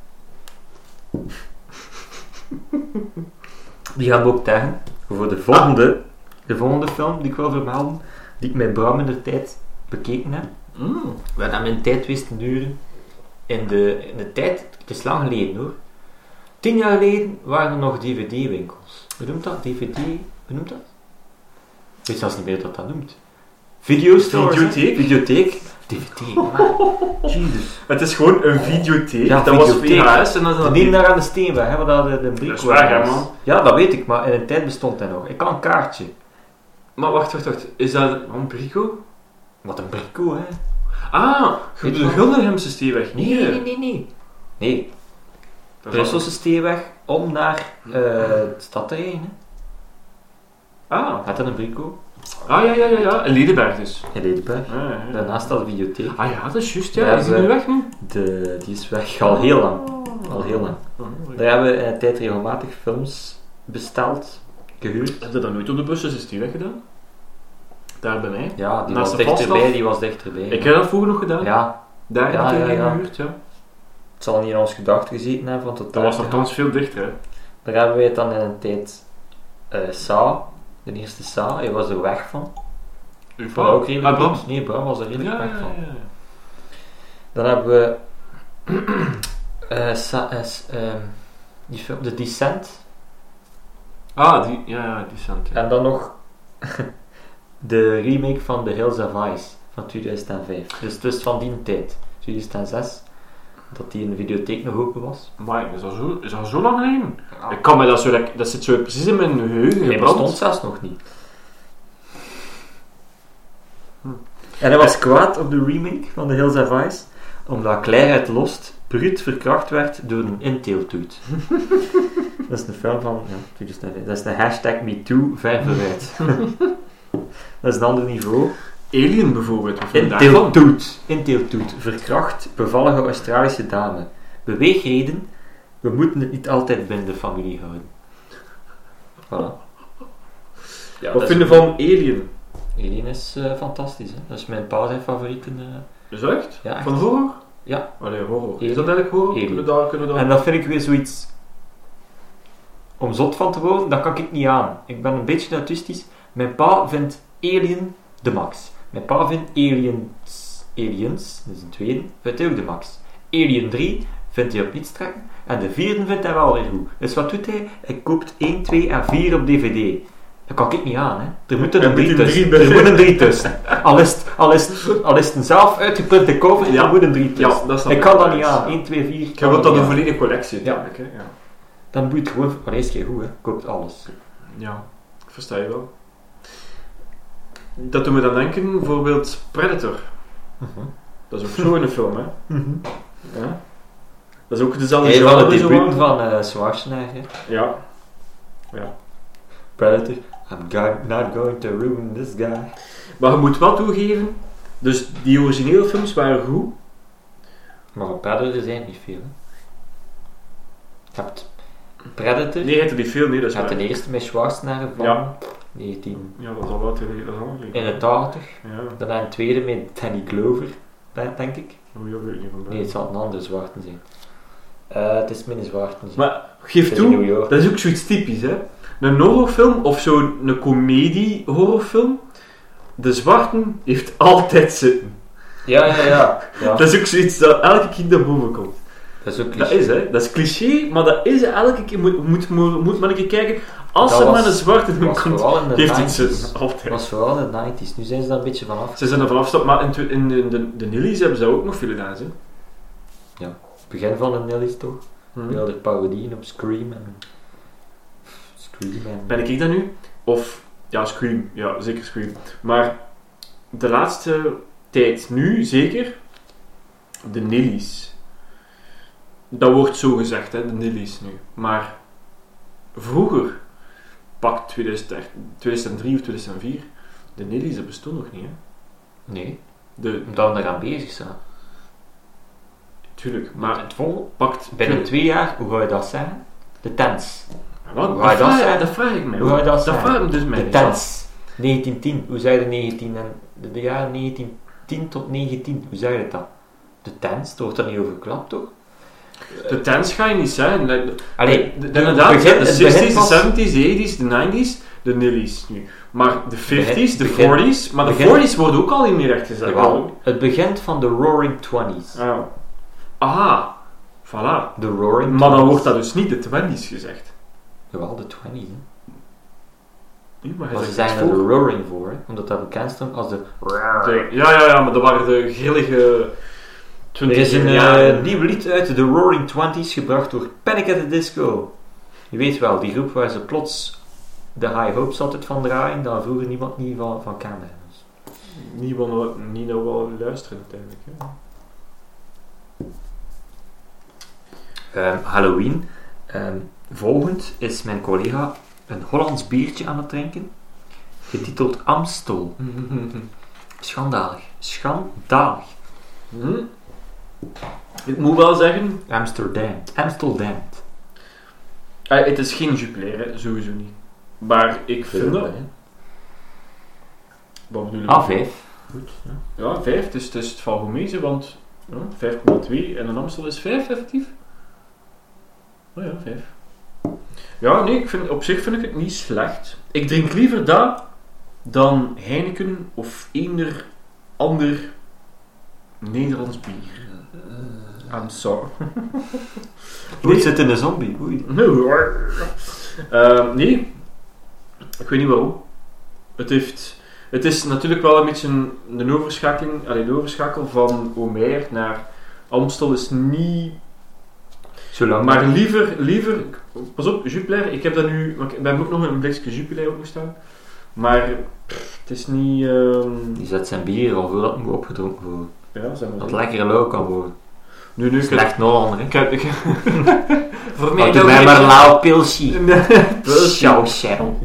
Speaker 1: Die gaan we ook taggen voor de volgende, de volgende film die ik wil vermelden, die ik met Bram in de tijd bekeken heb.
Speaker 2: Mm.
Speaker 1: We hebben hem in tijd wisten duren. In de, in de tijd, het is lang geleden hoor. Tien jaar geleden waren er nog dvd-winkels. Hoe noemt dat? DVD? Hoe noemt dat? Ik weet zelfs niet meer wat dat noemt. Videostores. hè?
Speaker 2: Videotheek?
Speaker 1: Videotheek. DVD. man. Jezus.
Speaker 2: Het is gewoon een videotheek.
Speaker 1: Ja,
Speaker 2: dat was
Speaker 1: videotheek.
Speaker 2: VHS en dan is
Speaker 1: We
Speaker 2: dat...
Speaker 1: nemen daar aan de steenweg, hè, waar dat eh, de, de briek
Speaker 2: Dat is waar, hè,
Speaker 1: was.
Speaker 2: man.
Speaker 1: Ja, dat weet ik, maar in een tijd bestond dat nog. Ik had een kaartje.
Speaker 2: Maar wacht, wacht, wacht. Is dat een brico?
Speaker 1: Wat een brico, hè?
Speaker 2: Ah, je
Speaker 1: Weet
Speaker 2: bedoelt de
Speaker 1: je wat?
Speaker 2: Guldenhemse Steeweg.
Speaker 1: Nee, nee, nee, nee. Nee,
Speaker 2: Dat was-
Speaker 1: Brusselse steeweg om naar eh het stadterrein. hè.
Speaker 2: Ah,
Speaker 1: Had dat een brico?
Speaker 2: ah ja, ja, ja, ja. In Ledenberg dus.
Speaker 1: In Ledenberg.
Speaker 2: Ah, ja, ja.
Speaker 1: Daarnaast staat de bibliotheek.
Speaker 2: Ah ja, dat is juist. Ja.
Speaker 1: Daar
Speaker 2: Is die
Speaker 1: zijn-
Speaker 2: nu weg nu?
Speaker 1: De, die is weg al heel lang. Al heel lang.
Speaker 2: Oh,
Speaker 1: Daar hebben we in de tijd regelmatig films besteld, gehuurd.
Speaker 2: Heb je dat nooit op de busjes is die weggedaan? Daar bij mij.
Speaker 1: Ja, die
Speaker 2: Naast
Speaker 1: was
Speaker 2: de
Speaker 1: dichterbij,
Speaker 2: Valstaf?
Speaker 1: die was dichterbij.
Speaker 2: Ik heb dat vroeger nog gedaan.
Speaker 1: Ja,
Speaker 2: Daar
Speaker 1: Ja,
Speaker 2: heb ik
Speaker 1: ja,
Speaker 2: een keer
Speaker 1: ja.
Speaker 2: gehuurd, ja.
Speaker 1: het zal niet in ons gedacht gezeten hebben, want het
Speaker 2: Dat was
Speaker 1: daar-
Speaker 2: nogthans veel dichter, hè.
Speaker 1: Daar hebben wij het dan in een tijd eh Sa, de eerste Sa, hij was er weg van.
Speaker 2: Uw
Speaker 1: Van ook
Speaker 2: Ah,
Speaker 1: redelijk
Speaker 2: Bram.
Speaker 1: goed. Nee, Bram was er
Speaker 2: Ja,
Speaker 1: redelijk
Speaker 2: ja,
Speaker 1: weg van.
Speaker 2: ja.
Speaker 1: Dan hebben we eh, Sa- eh, s- ehm, die film The Descent
Speaker 2: Ah, die, ja, ja, die cent. Ja.
Speaker 1: en dan nog de remake van The Hills of Ice van 2005. Dus het is van die tijd, 2006, dat die in de videotheek nog open was.
Speaker 2: Maar is dat zo, is dat zo lang geleden? Ik kan me dat zo, dat, dat zit zo precies in mijn geheugen
Speaker 1: Hij
Speaker 2: gebrand.
Speaker 1: bestond zelfs nog niet.
Speaker 2: Hm.
Speaker 1: Hm. Eh. En hij was kwaad op de remake van The Hills Have Eyes, omdat Claire uit Lost bruut verkracht werd door een inteeltoet. dat is een film van ja, 2005. Dat is de hashtag MeToo ver vooruit. dat is een ander niveau.
Speaker 2: Alien bijvoorbeeld. of daarvan.
Speaker 1: Inteeltoet. Inteeltoet. Verkracht bevallige Australische dame. Beweegreden. We moeten het niet altijd binnen de familie houden. Voilà.
Speaker 2: Ja,
Speaker 1: dat
Speaker 2: Wat
Speaker 1: is-
Speaker 2: vinden van Alien?
Speaker 1: Alien is eh, fantastisch. Hè? Dat is mijn pa zijn favoriete. eh.
Speaker 2: Is dat echt?
Speaker 1: Ja, echt.
Speaker 2: Van horror?
Speaker 1: Ja.
Speaker 2: Allee, horror.
Speaker 1: Alien.
Speaker 2: Is dat eigenlijk horror?
Speaker 1: Alien.
Speaker 2: Kunnen we daar... Kunnen we daar...
Speaker 1: En dat vind ik weer zoiets... Om zot van te worden, dat kan ik niet aan. Ik ben een beetje autistisch. Mijn pa vindt Alien de max. Mijn pa vindt Aliens... Aliens, dat is een tweede, vindt hij ook de max. Alien 3 vindt hij op niets trekken. En de vierde vindt hij wel weer goed. Dus wat doet hij? Hij koopt 1, 2 en 4 op dvd. Dat kan ik niet aan, hè. Er moet er
Speaker 2: Er
Speaker 1: een drie
Speaker 2: moet een drie
Speaker 1: tussen.
Speaker 2: bij.
Speaker 1: Er moet een drie tussen. Al is het, al is het, al is het een zelf uitgeprinte cover,
Speaker 2: Ja.
Speaker 1: er moet een drie tussen.
Speaker 2: Ja, dat snap
Speaker 1: ik
Speaker 2: ik.
Speaker 1: kan dat niet aan. 1, 2, 4.
Speaker 2: Je wilt dan een volledige collectie,
Speaker 1: Ja.
Speaker 2: ja. denk ik. Hè? Ja.
Speaker 1: Dan moet je het gewoon voor eerst keer goed, hè. koopt alles.
Speaker 2: ja, ik versta je wel. Dat doet me dan denken, bijvoorbeeld Predator.
Speaker 1: Mhm.
Speaker 2: Dat is ook zo in een film, hè. Ja. Dat is ook dezelfde
Speaker 1: Een van de
Speaker 2: genre, zo
Speaker 1: debuten
Speaker 2: waar.
Speaker 1: van eh Schwarzenegger,
Speaker 2: Ja.
Speaker 1: Predator. I'm go- not going to ruin this guy.
Speaker 2: Maar je moet wel toegeven, dus die originele films waren goed.
Speaker 1: Maar van Predator zijn er niet veel. Hè. Je hebt Predator,
Speaker 2: Nee, het er niet veel, nee, dat
Speaker 1: je
Speaker 2: is
Speaker 1: hebt
Speaker 2: waar.
Speaker 1: de eerste met Schwarzenegger van
Speaker 2: Ja.
Speaker 1: 1981.
Speaker 2: Ja, dat is al wat in de hand. Ja,
Speaker 1: Daarna een tweede met Danny Glover, denk denk ik.
Speaker 2: hoe je weet ik niet van
Speaker 1: Nee, het zal een andere zwarte zijn. Eh, het is minder zwarte.
Speaker 2: Maar geef
Speaker 1: Het is in New
Speaker 2: toe,
Speaker 1: York.
Speaker 2: dat is ook zoiets typisch, hè. Een horrorfilm of zo'n comedie-horrorfilm, de zwarten heeft altijd zitten.
Speaker 1: Ja, ja, ja. ja.
Speaker 2: Dat is ook zoiets dat elke keer naar boven komt.
Speaker 1: Dat is ook
Speaker 2: Dat
Speaker 1: cliché.
Speaker 2: is, hè. Dat is cliché, maar dat is elke keer... Moet, moet, moet, moet maar een keer kijken. Als
Speaker 1: Dat
Speaker 2: er
Speaker 1: was-
Speaker 2: maar een zwarte in
Speaker 1: was
Speaker 2: komt,
Speaker 1: vooral in de
Speaker 2: heeft het
Speaker 1: 90s.
Speaker 2: zin.
Speaker 1: Dat
Speaker 2: Altijd.
Speaker 1: was vooral in de 90s. Nu zijn ze daar een beetje vanaf.
Speaker 2: Ze zijn er vanaf stap, maar in, twe- in, in de, de Nillies hebben ze ook nog veel gedaan, hè.
Speaker 1: begin van de Nelly's toch?
Speaker 2: Ja.
Speaker 1: Wilde parodieën op Scream en... Scream en...
Speaker 2: Ben ik dat nu? Of... Ja, Scream. Ja, zeker Scream. Maar de laatste tijd nu, zeker, de Nillies. Dat wordt zo gezegd, hè, de Nillies nu. Maar vroeger, pak 2003 2003 of 2004, de Nillies, dat bestond nog niet, hè.
Speaker 1: Nee,
Speaker 2: De,
Speaker 1: omdat we eraan bezig zijn.
Speaker 2: tuurlijk, maar
Speaker 1: het vol,
Speaker 2: pakt...
Speaker 1: binnen twee jaar, hoe ga je dat zeggen? De tens.
Speaker 2: Wat?
Speaker 1: Waar dat
Speaker 2: Dat, vraag,
Speaker 1: zijn?
Speaker 2: dat vraag ik mij.
Speaker 1: Hoe ga je dat
Speaker 2: dat
Speaker 1: zeggen?
Speaker 2: vraag ik me dus mij.
Speaker 1: De tens. 1910, hoe zei je 19 en... De, de jaren 1910 tot 19, hoe zei je dat? De tens, er wordt er niet over geklapt, toch?
Speaker 2: De tens ga je niet zijn. Like,
Speaker 1: Allee,
Speaker 2: de- de- inderdaad,
Speaker 1: begin-
Speaker 2: de
Speaker 1: het begin
Speaker 2: 60s,
Speaker 1: pas-
Speaker 2: de 70s, de 80s, de 90s, de nillies nu. Maar de 50s, de
Speaker 1: begin-
Speaker 2: 40s, maar de
Speaker 1: begin-
Speaker 2: 40s worden ook al niet meer recht gezet.
Speaker 1: Jawel, het begint van de Roaring Twenties.
Speaker 2: Ah, ja. Aha, voilà.
Speaker 1: De Roaring
Speaker 2: Maar dan
Speaker 1: Twenties.
Speaker 2: wordt dat dus niet de 20s gezegd.
Speaker 1: Jawel, de Twenties, hè.
Speaker 2: Nee, maar hij
Speaker 1: Maar ze
Speaker 2: zegt
Speaker 1: zijn
Speaker 2: het
Speaker 1: er de
Speaker 2: voor.
Speaker 1: roaring voor, hè, omdat dat bekend stond als de...
Speaker 2: De- Ja, ja, ja, maar dat waren de grillige 20
Speaker 1: Er is een
Speaker 2: jaren.
Speaker 1: eh, nieuw lied uit de Roaring Twenties gebracht door Panic at the Disco. Je weet wel, die groep waar ze plots de High Hopes altijd van draaien, daar vroeger niemand niet van, van kende. Dus
Speaker 2: Niet wel- niet nou wel luisteren uiteindelijk. hè.
Speaker 1: Ehm, Halloween. Ehm, volgend is mijn collega een Hollands biertje aan het drinken, getiteld Amstel. Schandalig. Schandalig.
Speaker 2: Hm? Ik moet wel zeggen,
Speaker 1: Amsterdam. Amsterdam.
Speaker 2: Eh, het is geen jupiler, hè, sowieso niet. Maar ik vind dat... Wat bedoel ik?
Speaker 1: A5.
Speaker 2: Ja, vijf. Dus het is het valt goed mee, ze, want ja, 5,2 en een Amstel is 5 effectief. Oh ja, 5. Ja, nee, ik vind, op zich vind ik het niet slecht. Ik drink liever dat dan Heineken of eender ander Nederlands bier.
Speaker 1: Eh,
Speaker 2: I'm sorry.
Speaker 1: Oei, het zit in de zombie. Oei.
Speaker 2: Nee hoor. Eh, nee. Ik weet niet waarom. Het, heeft, het is natuurlijk wel een beetje een, een overschakeling. Allee, de overschakel van Omer naar Amstel is niet.
Speaker 1: Zolang
Speaker 2: Maar liever, liever. Pas op, Jupiler. Ik heb dat nu. want Ik we hebben ook nog een blikje Jupiler ook nog staan. Maar pff, het is niet. ehm,
Speaker 1: Die zet zijn bier al voordat het moet opgedronken worden.
Speaker 2: ja, zeg maar.
Speaker 1: Dat het lekker lauw kan worden.
Speaker 2: Nu, nu, ik heb-
Speaker 1: Slecht nog ander, hè.
Speaker 2: ik heb... ik- Voor
Speaker 1: Oh,
Speaker 2: mij
Speaker 1: Doe
Speaker 2: dat
Speaker 1: mij
Speaker 2: ik-
Speaker 1: maar lauw oh, pilsie.
Speaker 2: Nee.
Speaker 1: Ciao, ciao.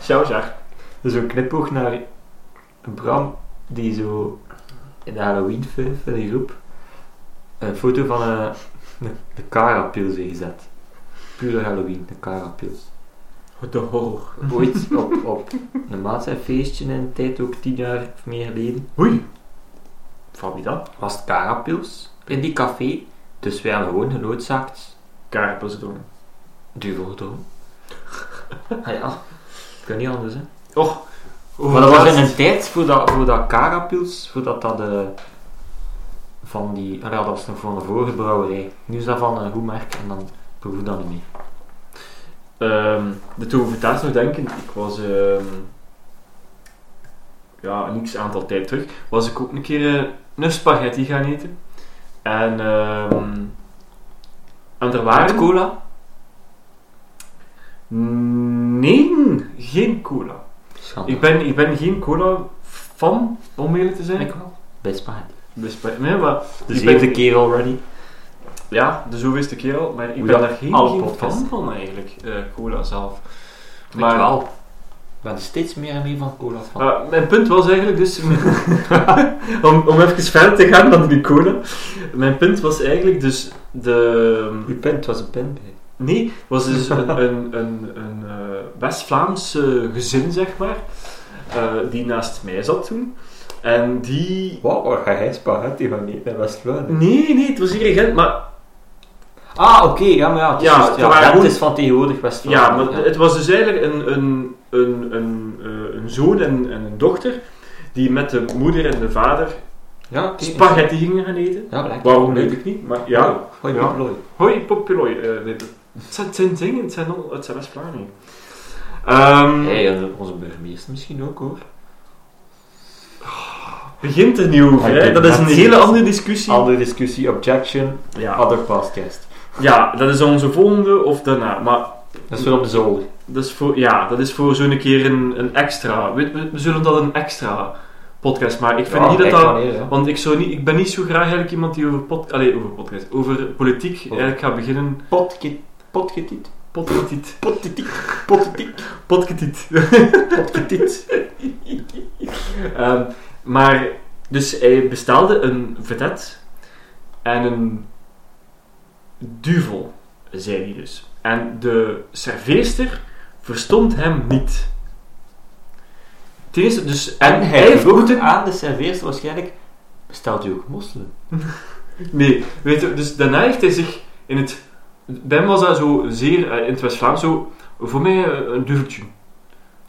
Speaker 2: Ciao, ciao.
Speaker 1: Zo'n knipoog naar Bram, die zo in de Halloween film van die groep een foto van eh, de, de karapils heeft gezet. Pure Halloween, de karapils.
Speaker 2: De horror.
Speaker 1: Ooit op, op een maatschappijfeestje in een tijd, ook tien jaar of meer geleden,
Speaker 2: Oei. Van wie dat?
Speaker 1: was het karapils in die café. Dus wij hadden gewoon genoodzaakt
Speaker 2: Karpenzoon.
Speaker 1: duvel gedronken. Ah ja, kan niet anders hè.
Speaker 2: Och.
Speaker 1: Maar dat was in een tijd voordat, voordat Carapils, voordat dat de, van die, ah ja, dat was nog van de vorige brouwerij. Nu is dat van een goed merk en dan proef ik dat niet meer.
Speaker 2: Ehm, de tovertaart nog denken, ik was ehm, ja, een x aantal tijd terug, was ik ook een keer eh, een spaghetti gaan eten. En, ehm, en er
Speaker 1: Met
Speaker 2: waren...
Speaker 1: cola?
Speaker 2: Nee, geen cola.
Speaker 1: Schande.
Speaker 2: Ik ben, ik ben geen cola fan, om eerlijk te zijn.
Speaker 1: Ik wel. Bij Spaghetti.
Speaker 2: Bij spa- Nee, maar...
Speaker 1: Dus De
Speaker 2: ik
Speaker 1: zevende
Speaker 2: ben-
Speaker 1: keer already.
Speaker 2: Ja, de zoveelste keer al, maar ik
Speaker 1: Hoe
Speaker 2: ben
Speaker 1: dat
Speaker 2: daar geen,
Speaker 1: alle
Speaker 2: geen
Speaker 1: podcasts.
Speaker 2: fan van eigenlijk, eh, cola zelf.
Speaker 1: Maar Ah. ik wel. Ik ben steeds meer en meer van cola van.
Speaker 2: Maar mijn punt was eigenlijk dus... om, om even verder te gaan dan die cola. Mijn punt was eigenlijk dus de...
Speaker 1: Uw punt was een pen bij.
Speaker 2: Nee, was dus een, een, een, een eh, West-Vlaams eh, gezin, zeg maar. eh, die naast mij zat toen. En die...
Speaker 1: Wauw, waar ga jij Spaghetti van eten in West-Vlaanderen?
Speaker 2: Nee, nee, het was hier in Gent, maar...
Speaker 1: Ah, oké, ja, maar ja, het is,
Speaker 2: Ja,
Speaker 1: juist,
Speaker 2: er waren
Speaker 1: ja, dat
Speaker 2: gewoon-
Speaker 1: is van tegenwoordig
Speaker 2: Ja,
Speaker 1: West-Vlaanderen.
Speaker 2: maar het was dus eigenlijk een, een, een, een, eh, een zoon en, en een dochter die met de moeder en de vader
Speaker 1: ja, oké.
Speaker 2: spaghetti gingen gaan eten.
Speaker 1: Ja, lekker.
Speaker 2: Waarom weet
Speaker 1: Leuk.
Speaker 2: ik niet, maar ja...
Speaker 1: Gooi
Speaker 2: Ja.
Speaker 1: plooi.
Speaker 2: Hoi, Poppelooi. eh, nee, het zijn, het zijn dingen, het zijn, al- het zijn West-Vlamingen. Ehm,
Speaker 1: Hey, eh, onze burgemeester misschien ook hoor.
Speaker 2: Begint er niet over,
Speaker 1: Ik
Speaker 2: hè?
Speaker 1: denk
Speaker 2: Dat is
Speaker 1: dat
Speaker 2: een
Speaker 1: het-
Speaker 2: hele andere discussie.
Speaker 1: Andere discussie, objection,
Speaker 2: Ja.
Speaker 1: other podcast.
Speaker 2: ja, dat is onze volgende of daarna. Maar
Speaker 1: Dat is wel op de zolder.
Speaker 2: dat is voor, ja, dat is voor zo'n keer een, een extra. We, we, we zullen dat een extra podcast maken. Ik vind niet dat dat... Want ik, zou niet, ik ben niet zo graag eigenlijk iemand die over, pod, allez, over podcast, over politiek eigenlijk gaat beginnen.
Speaker 1: Potgetiet. Potgetiet.
Speaker 2: Potketiet.
Speaker 1: Potgetiet. Potgetiet.
Speaker 2: Potketiet. Ehm, maar, dus hij bestelde een vedet en een duvel, zei hij dus. En de serveerster verstond hem niet. Ten eerste, dus,
Speaker 1: En hij Ah.
Speaker 2: vroeg
Speaker 1: vroeg aan de serveerster waarschijnlijk, bestelt u ook mosselen?
Speaker 2: Nee, weet je, dus daarna heeft hij zich in het... Bij hem was dat zo zeer, eh, in het West-Vlaams, zo... Voor mij eh, een duveltje.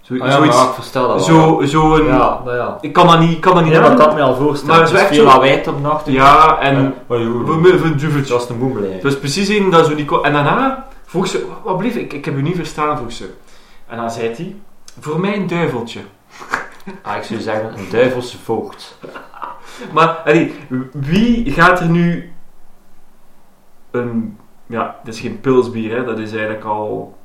Speaker 2: Zo, zoiets...
Speaker 1: ik verstel dat
Speaker 2: zo, zo een...
Speaker 1: Ah Ja, nou ja.
Speaker 2: Ik kan dat niet, ik kan dat niet
Speaker 1: Ja, dat
Speaker 2: nadoen.
Speaker 1: kan me al voorstellen.
Speaker 2: Maar het is
Speaker 1: Dus
Speaker 2: echt
Speaker 1: veel
Speaker 2: zo-
Speaker 1: lawaai op nacht. dus-
Speaker 2: Ja, en... Voor
Speaker 1: Voor
Speaker 2: mij een duveltje.
Speaker 1: was de boemel
Speaker 2: Het was precies één dat zo niet kon... En daarna vroeg ze... "Wa- Wat blieft, ik, ik heb u niet verstaan, vroeg ze. En dan zei hij... Voor mij een duiveltje.
Speaker 1: Ah, ik zou zeggen, een duivelse voogd.
Speaker 2: Maar, allee, wie gaat er nu een... Ja, dat is geen pilsbier, hè. Dat is eigenlijk al...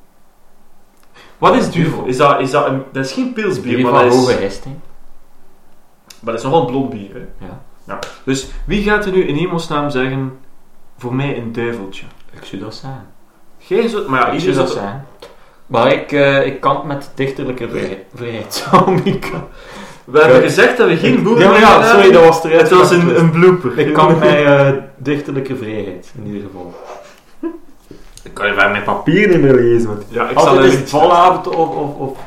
Speaker 2: Wat is duvel? Is dat, is dat, een, dat is geen pilsbier,
Speaker 1: Bier
Speaker 2: maar
Speaker 1: van
Speaker 2: dat
Speaker 1: hoge
Speaker 2: is,
Speaker 1: hesting.
Speaker 2: maar dat is nogal een blond bier, hè.
Speaker 1: Ja.
Speaker 2: Nou, dus wie gaat er nu in hemelsnaam zeggen... Voor mij een duiveltje?
Speaker 1: Ik zou dat zeggen.
Speaker 2: Geen zo... Maar ja,
Speaker 1: ik
Speaker 2: ieder
Speaker 1: zou dat
Speaker 2: zo-
Speaker 1: zeggen. Maar ik, eh, ik kan het met dichterlijke vrij- vrijheid. Zo, ik kan-
Speaker 2: We hebben
Speaker 1: Ja.
Speaker 2: gezegd dat we geen boeren
Speaker 1: Ja, maar ja,
Speaker 2: hebben.
Speaker 1: sorry, dat was eruit.
Speaker 2: Het was een, een blooper.
Speaker 1: Ik kan mij eh dichterlijke vrijheid, in ieder geval. Ik kan je bij mijn papier niet meer lezen. Want
Speaker 2: Ja, ik zal
Speaker 1: altijd
Speaker 2: er
Speaker 1: is het
Speaker 2: iets
Speaker 1: valavond of, of, of...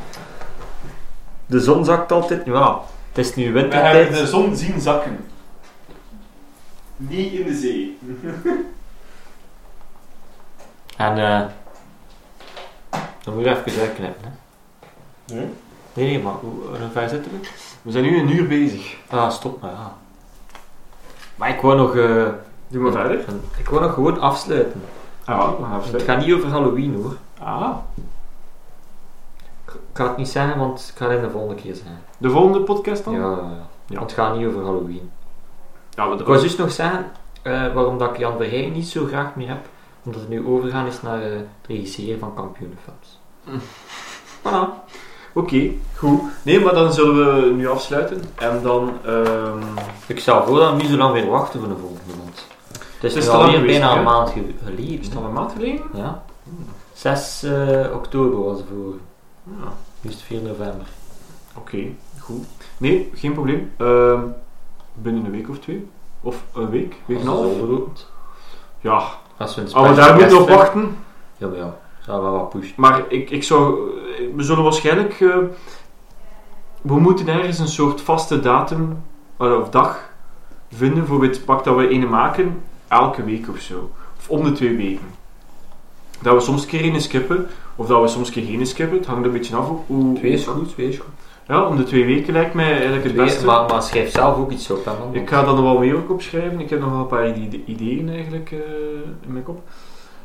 Speaker 1: De zon zakt altijd. Ja, het is nu wintertijd.
Speaker 2: zon zien zakken. Niet in de zee.
Speaker 1: En eh... Dan moet je even uitknippen, hè.
Speaker 2: Nee?
Speaker 1: Nee, nee, maar hoe, hoe ver zitten we?
Speaker 2: We zijn nu een uur bezig.
Speaker 1: Ah, stop maar, ja. Maar ik wou nog... eh,
Speaker 2: Doe maar verder.
Speaker 1: een- ik wou nog gewoon afsluiten.
Speaker 2: Ah, we gaan
Speaker 1: Het
Speaker 2: verder.
Speaker 1: gaat niet over Halloween, hoor.
Speaker 2: Ah.
Speaker 1: Ik ga het niet zeggen, want ik ga het de volgende keer zeggen.
Speaker 2: De volgende
Speaker 1: Ja,
Speaker 2: podcast dan?
Speaker 1: ja, ja.
Speaker 2: Oh. Ja.
Speaker 1: Want het gaat niet over Halloween.
Speaker 2: ja we
Speaker 1: Ik wou dus nog zeggen eh, waarom dat ik Jan Verheyen niet zo graag meer heb. Omdat het nu overgaan is naar eh, het regisseren van kampioenenfilms.
Speaker 2: Voilà. Oké, goed. Nee, maar dan zullen we nu afsluiten. En dan... ehm,
Speaker 1: Ik stel voor dat we niet zo lang weer wachten voor de volgende maand. Het is,
Speaker 2: Het is
Speaker 1: nu
Speaker 2: te lang
Speaker 1: alweer
Speaker 2: geweest,
Speaker 1: bijna
Speaker 2: hè? Hmm.
Speaker 1: een maand ge-
Speaker 2: Is
Speaker 1: geleden.
Speaker 2: het
Speaker 1: hè.
Speaker 2: al een maand geleden?
Speaker 1: Ja. 6 eh, oktober was de vorige.
Speaker 2: Ja.
Speaker 1: Nu is het 4 november.
Speaker 2: Oké, goed. Nee, geen probleem. Ehm, binnen een week of twee. Of een week, week en een
Speaker 1: Als het
Speaker 2: half.
Speaker 1: overloopt.
Speaker 2: Ja,
Speaker 1: Als we een
Speaker 2: als we
Speaker 1: special
Speaker 2: Ah, daar
Speaker 1: guest
Speaker 2: moeten op
Speaker 1: vinden-
Speaker 2: wachten.
Speaker 1: Ja, maar ja. Zou wel wat pushen.
Speaker 2: Maar ik, ik zou... eh, We zullen waarschijnlijk... eh, we moeten ergens een soort vaste datum eh, of dag vinden voor het pak dat we een maken. Elke week of zo. Of om de twee weken. Dat we soms een keer een skippen. Of dat we soms een keer geen skippen. Het hangt een beetje af hoe- hoe...
Speaker 1: Twee is goed, twee is goed.
Speaker 2: Ja, om de twee weken lijkt mij eigenlijk het
Speaker 1: Twee-
Speaker 2: beste.
Speaker 1: maar, maar schrijf zelf ook iets op. Hè, man.
Speaker 2: Ik ga dan nog wel mee ook opschrijven. Ik heb nog wel een paar ide- ideeën eigenlijk eh, in mijn kop.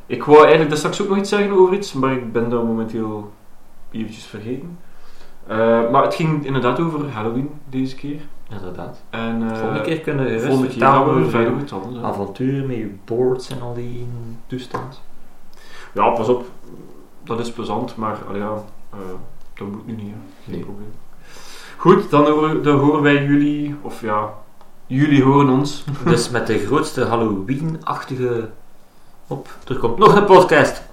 Speaker 2: Ik wou eigenlijk daar straks ook nog iets zeggen over iets, maar ik ben dat momenteel eventjes vergeten. Eh, maar het ging inderdaad over Halloween deze keer.
Speaker 1: Inderdaad.
Speaker 2: En, eh,
Speaker 1: volgende keer kunnen we Ah. rustig
Speaker 2: volgende keer
Speaker 1: vertellen
Speaker 2: gaan we
Speaker 1: over
Speaker 2: verder
Speaker 1: uw
Speaker 2: met het andere.
Speaker 1: avonturen met je boards en al die toestand.
Speaker 2: Ja, pas op. Dat is plezant, maar allee, ja, eh, dat moet nu niet. hè. Geen
Speaker 1: Nee.
Speaker 2: probleem. Goed, dan, horen- dan horen wij jullie, of ja, jullie horen ons.
Speaker 1: dus met de grootste Halloween-achtige op. Er komt nog een podcast.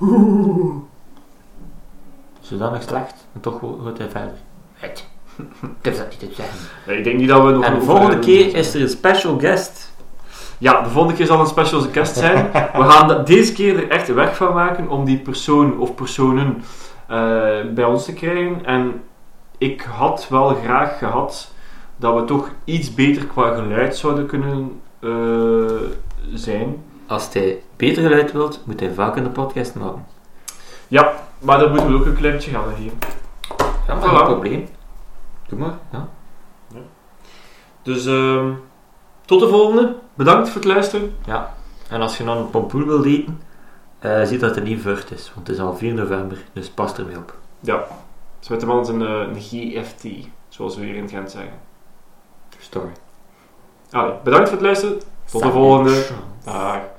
Speaker 1: Zodanig slecht, maar toch go- gaat hij verder. Het. Ik heb dat niet te zeggen.
Speaker 2: Nee, ik denk niet dat we nog
Speaker 1: En de
Speaker 2: over-
Speaker 1: volgende keer is er een special guest.
Speaker 2: Ja, de volgende keer zal een special guest zijn. We gaan dat- deze keer er echt weg van maken om die persoon of personen eh, bij ons te krijgen. En ik had wel graag gehad dat we toch iets beter qua geluid zouden kunnen eh, zijn.
Speaker 1: Als hij beter geluid wilt, moet hij vaak in de podcast maken.
Speaker 2: Maar daar moeten we ook een kleintje gaan geven.
Speaker 1: Ja,
Speaker 2: maar
Speaker 1: maar
Speaker 2: geen
Speaker 1: geen probleem. Doe maar. Ja.
Speaker 2: Dus ehm, tot de volgende. Bedankt voor het luisteren.
Speaker 1: En als je dan een pompoen wilt eten, eh, zie dat het niet vurt is. Want het is al 4 november, dus pas ermee op.
Speaker 2: Dus met de man een, eh, een GFT, zoals we hier in Gent zeggen.
Speaker 1: Story.
Speaker 2: Allee, bedankt voor het luisteren. Tot de volgende. Dag.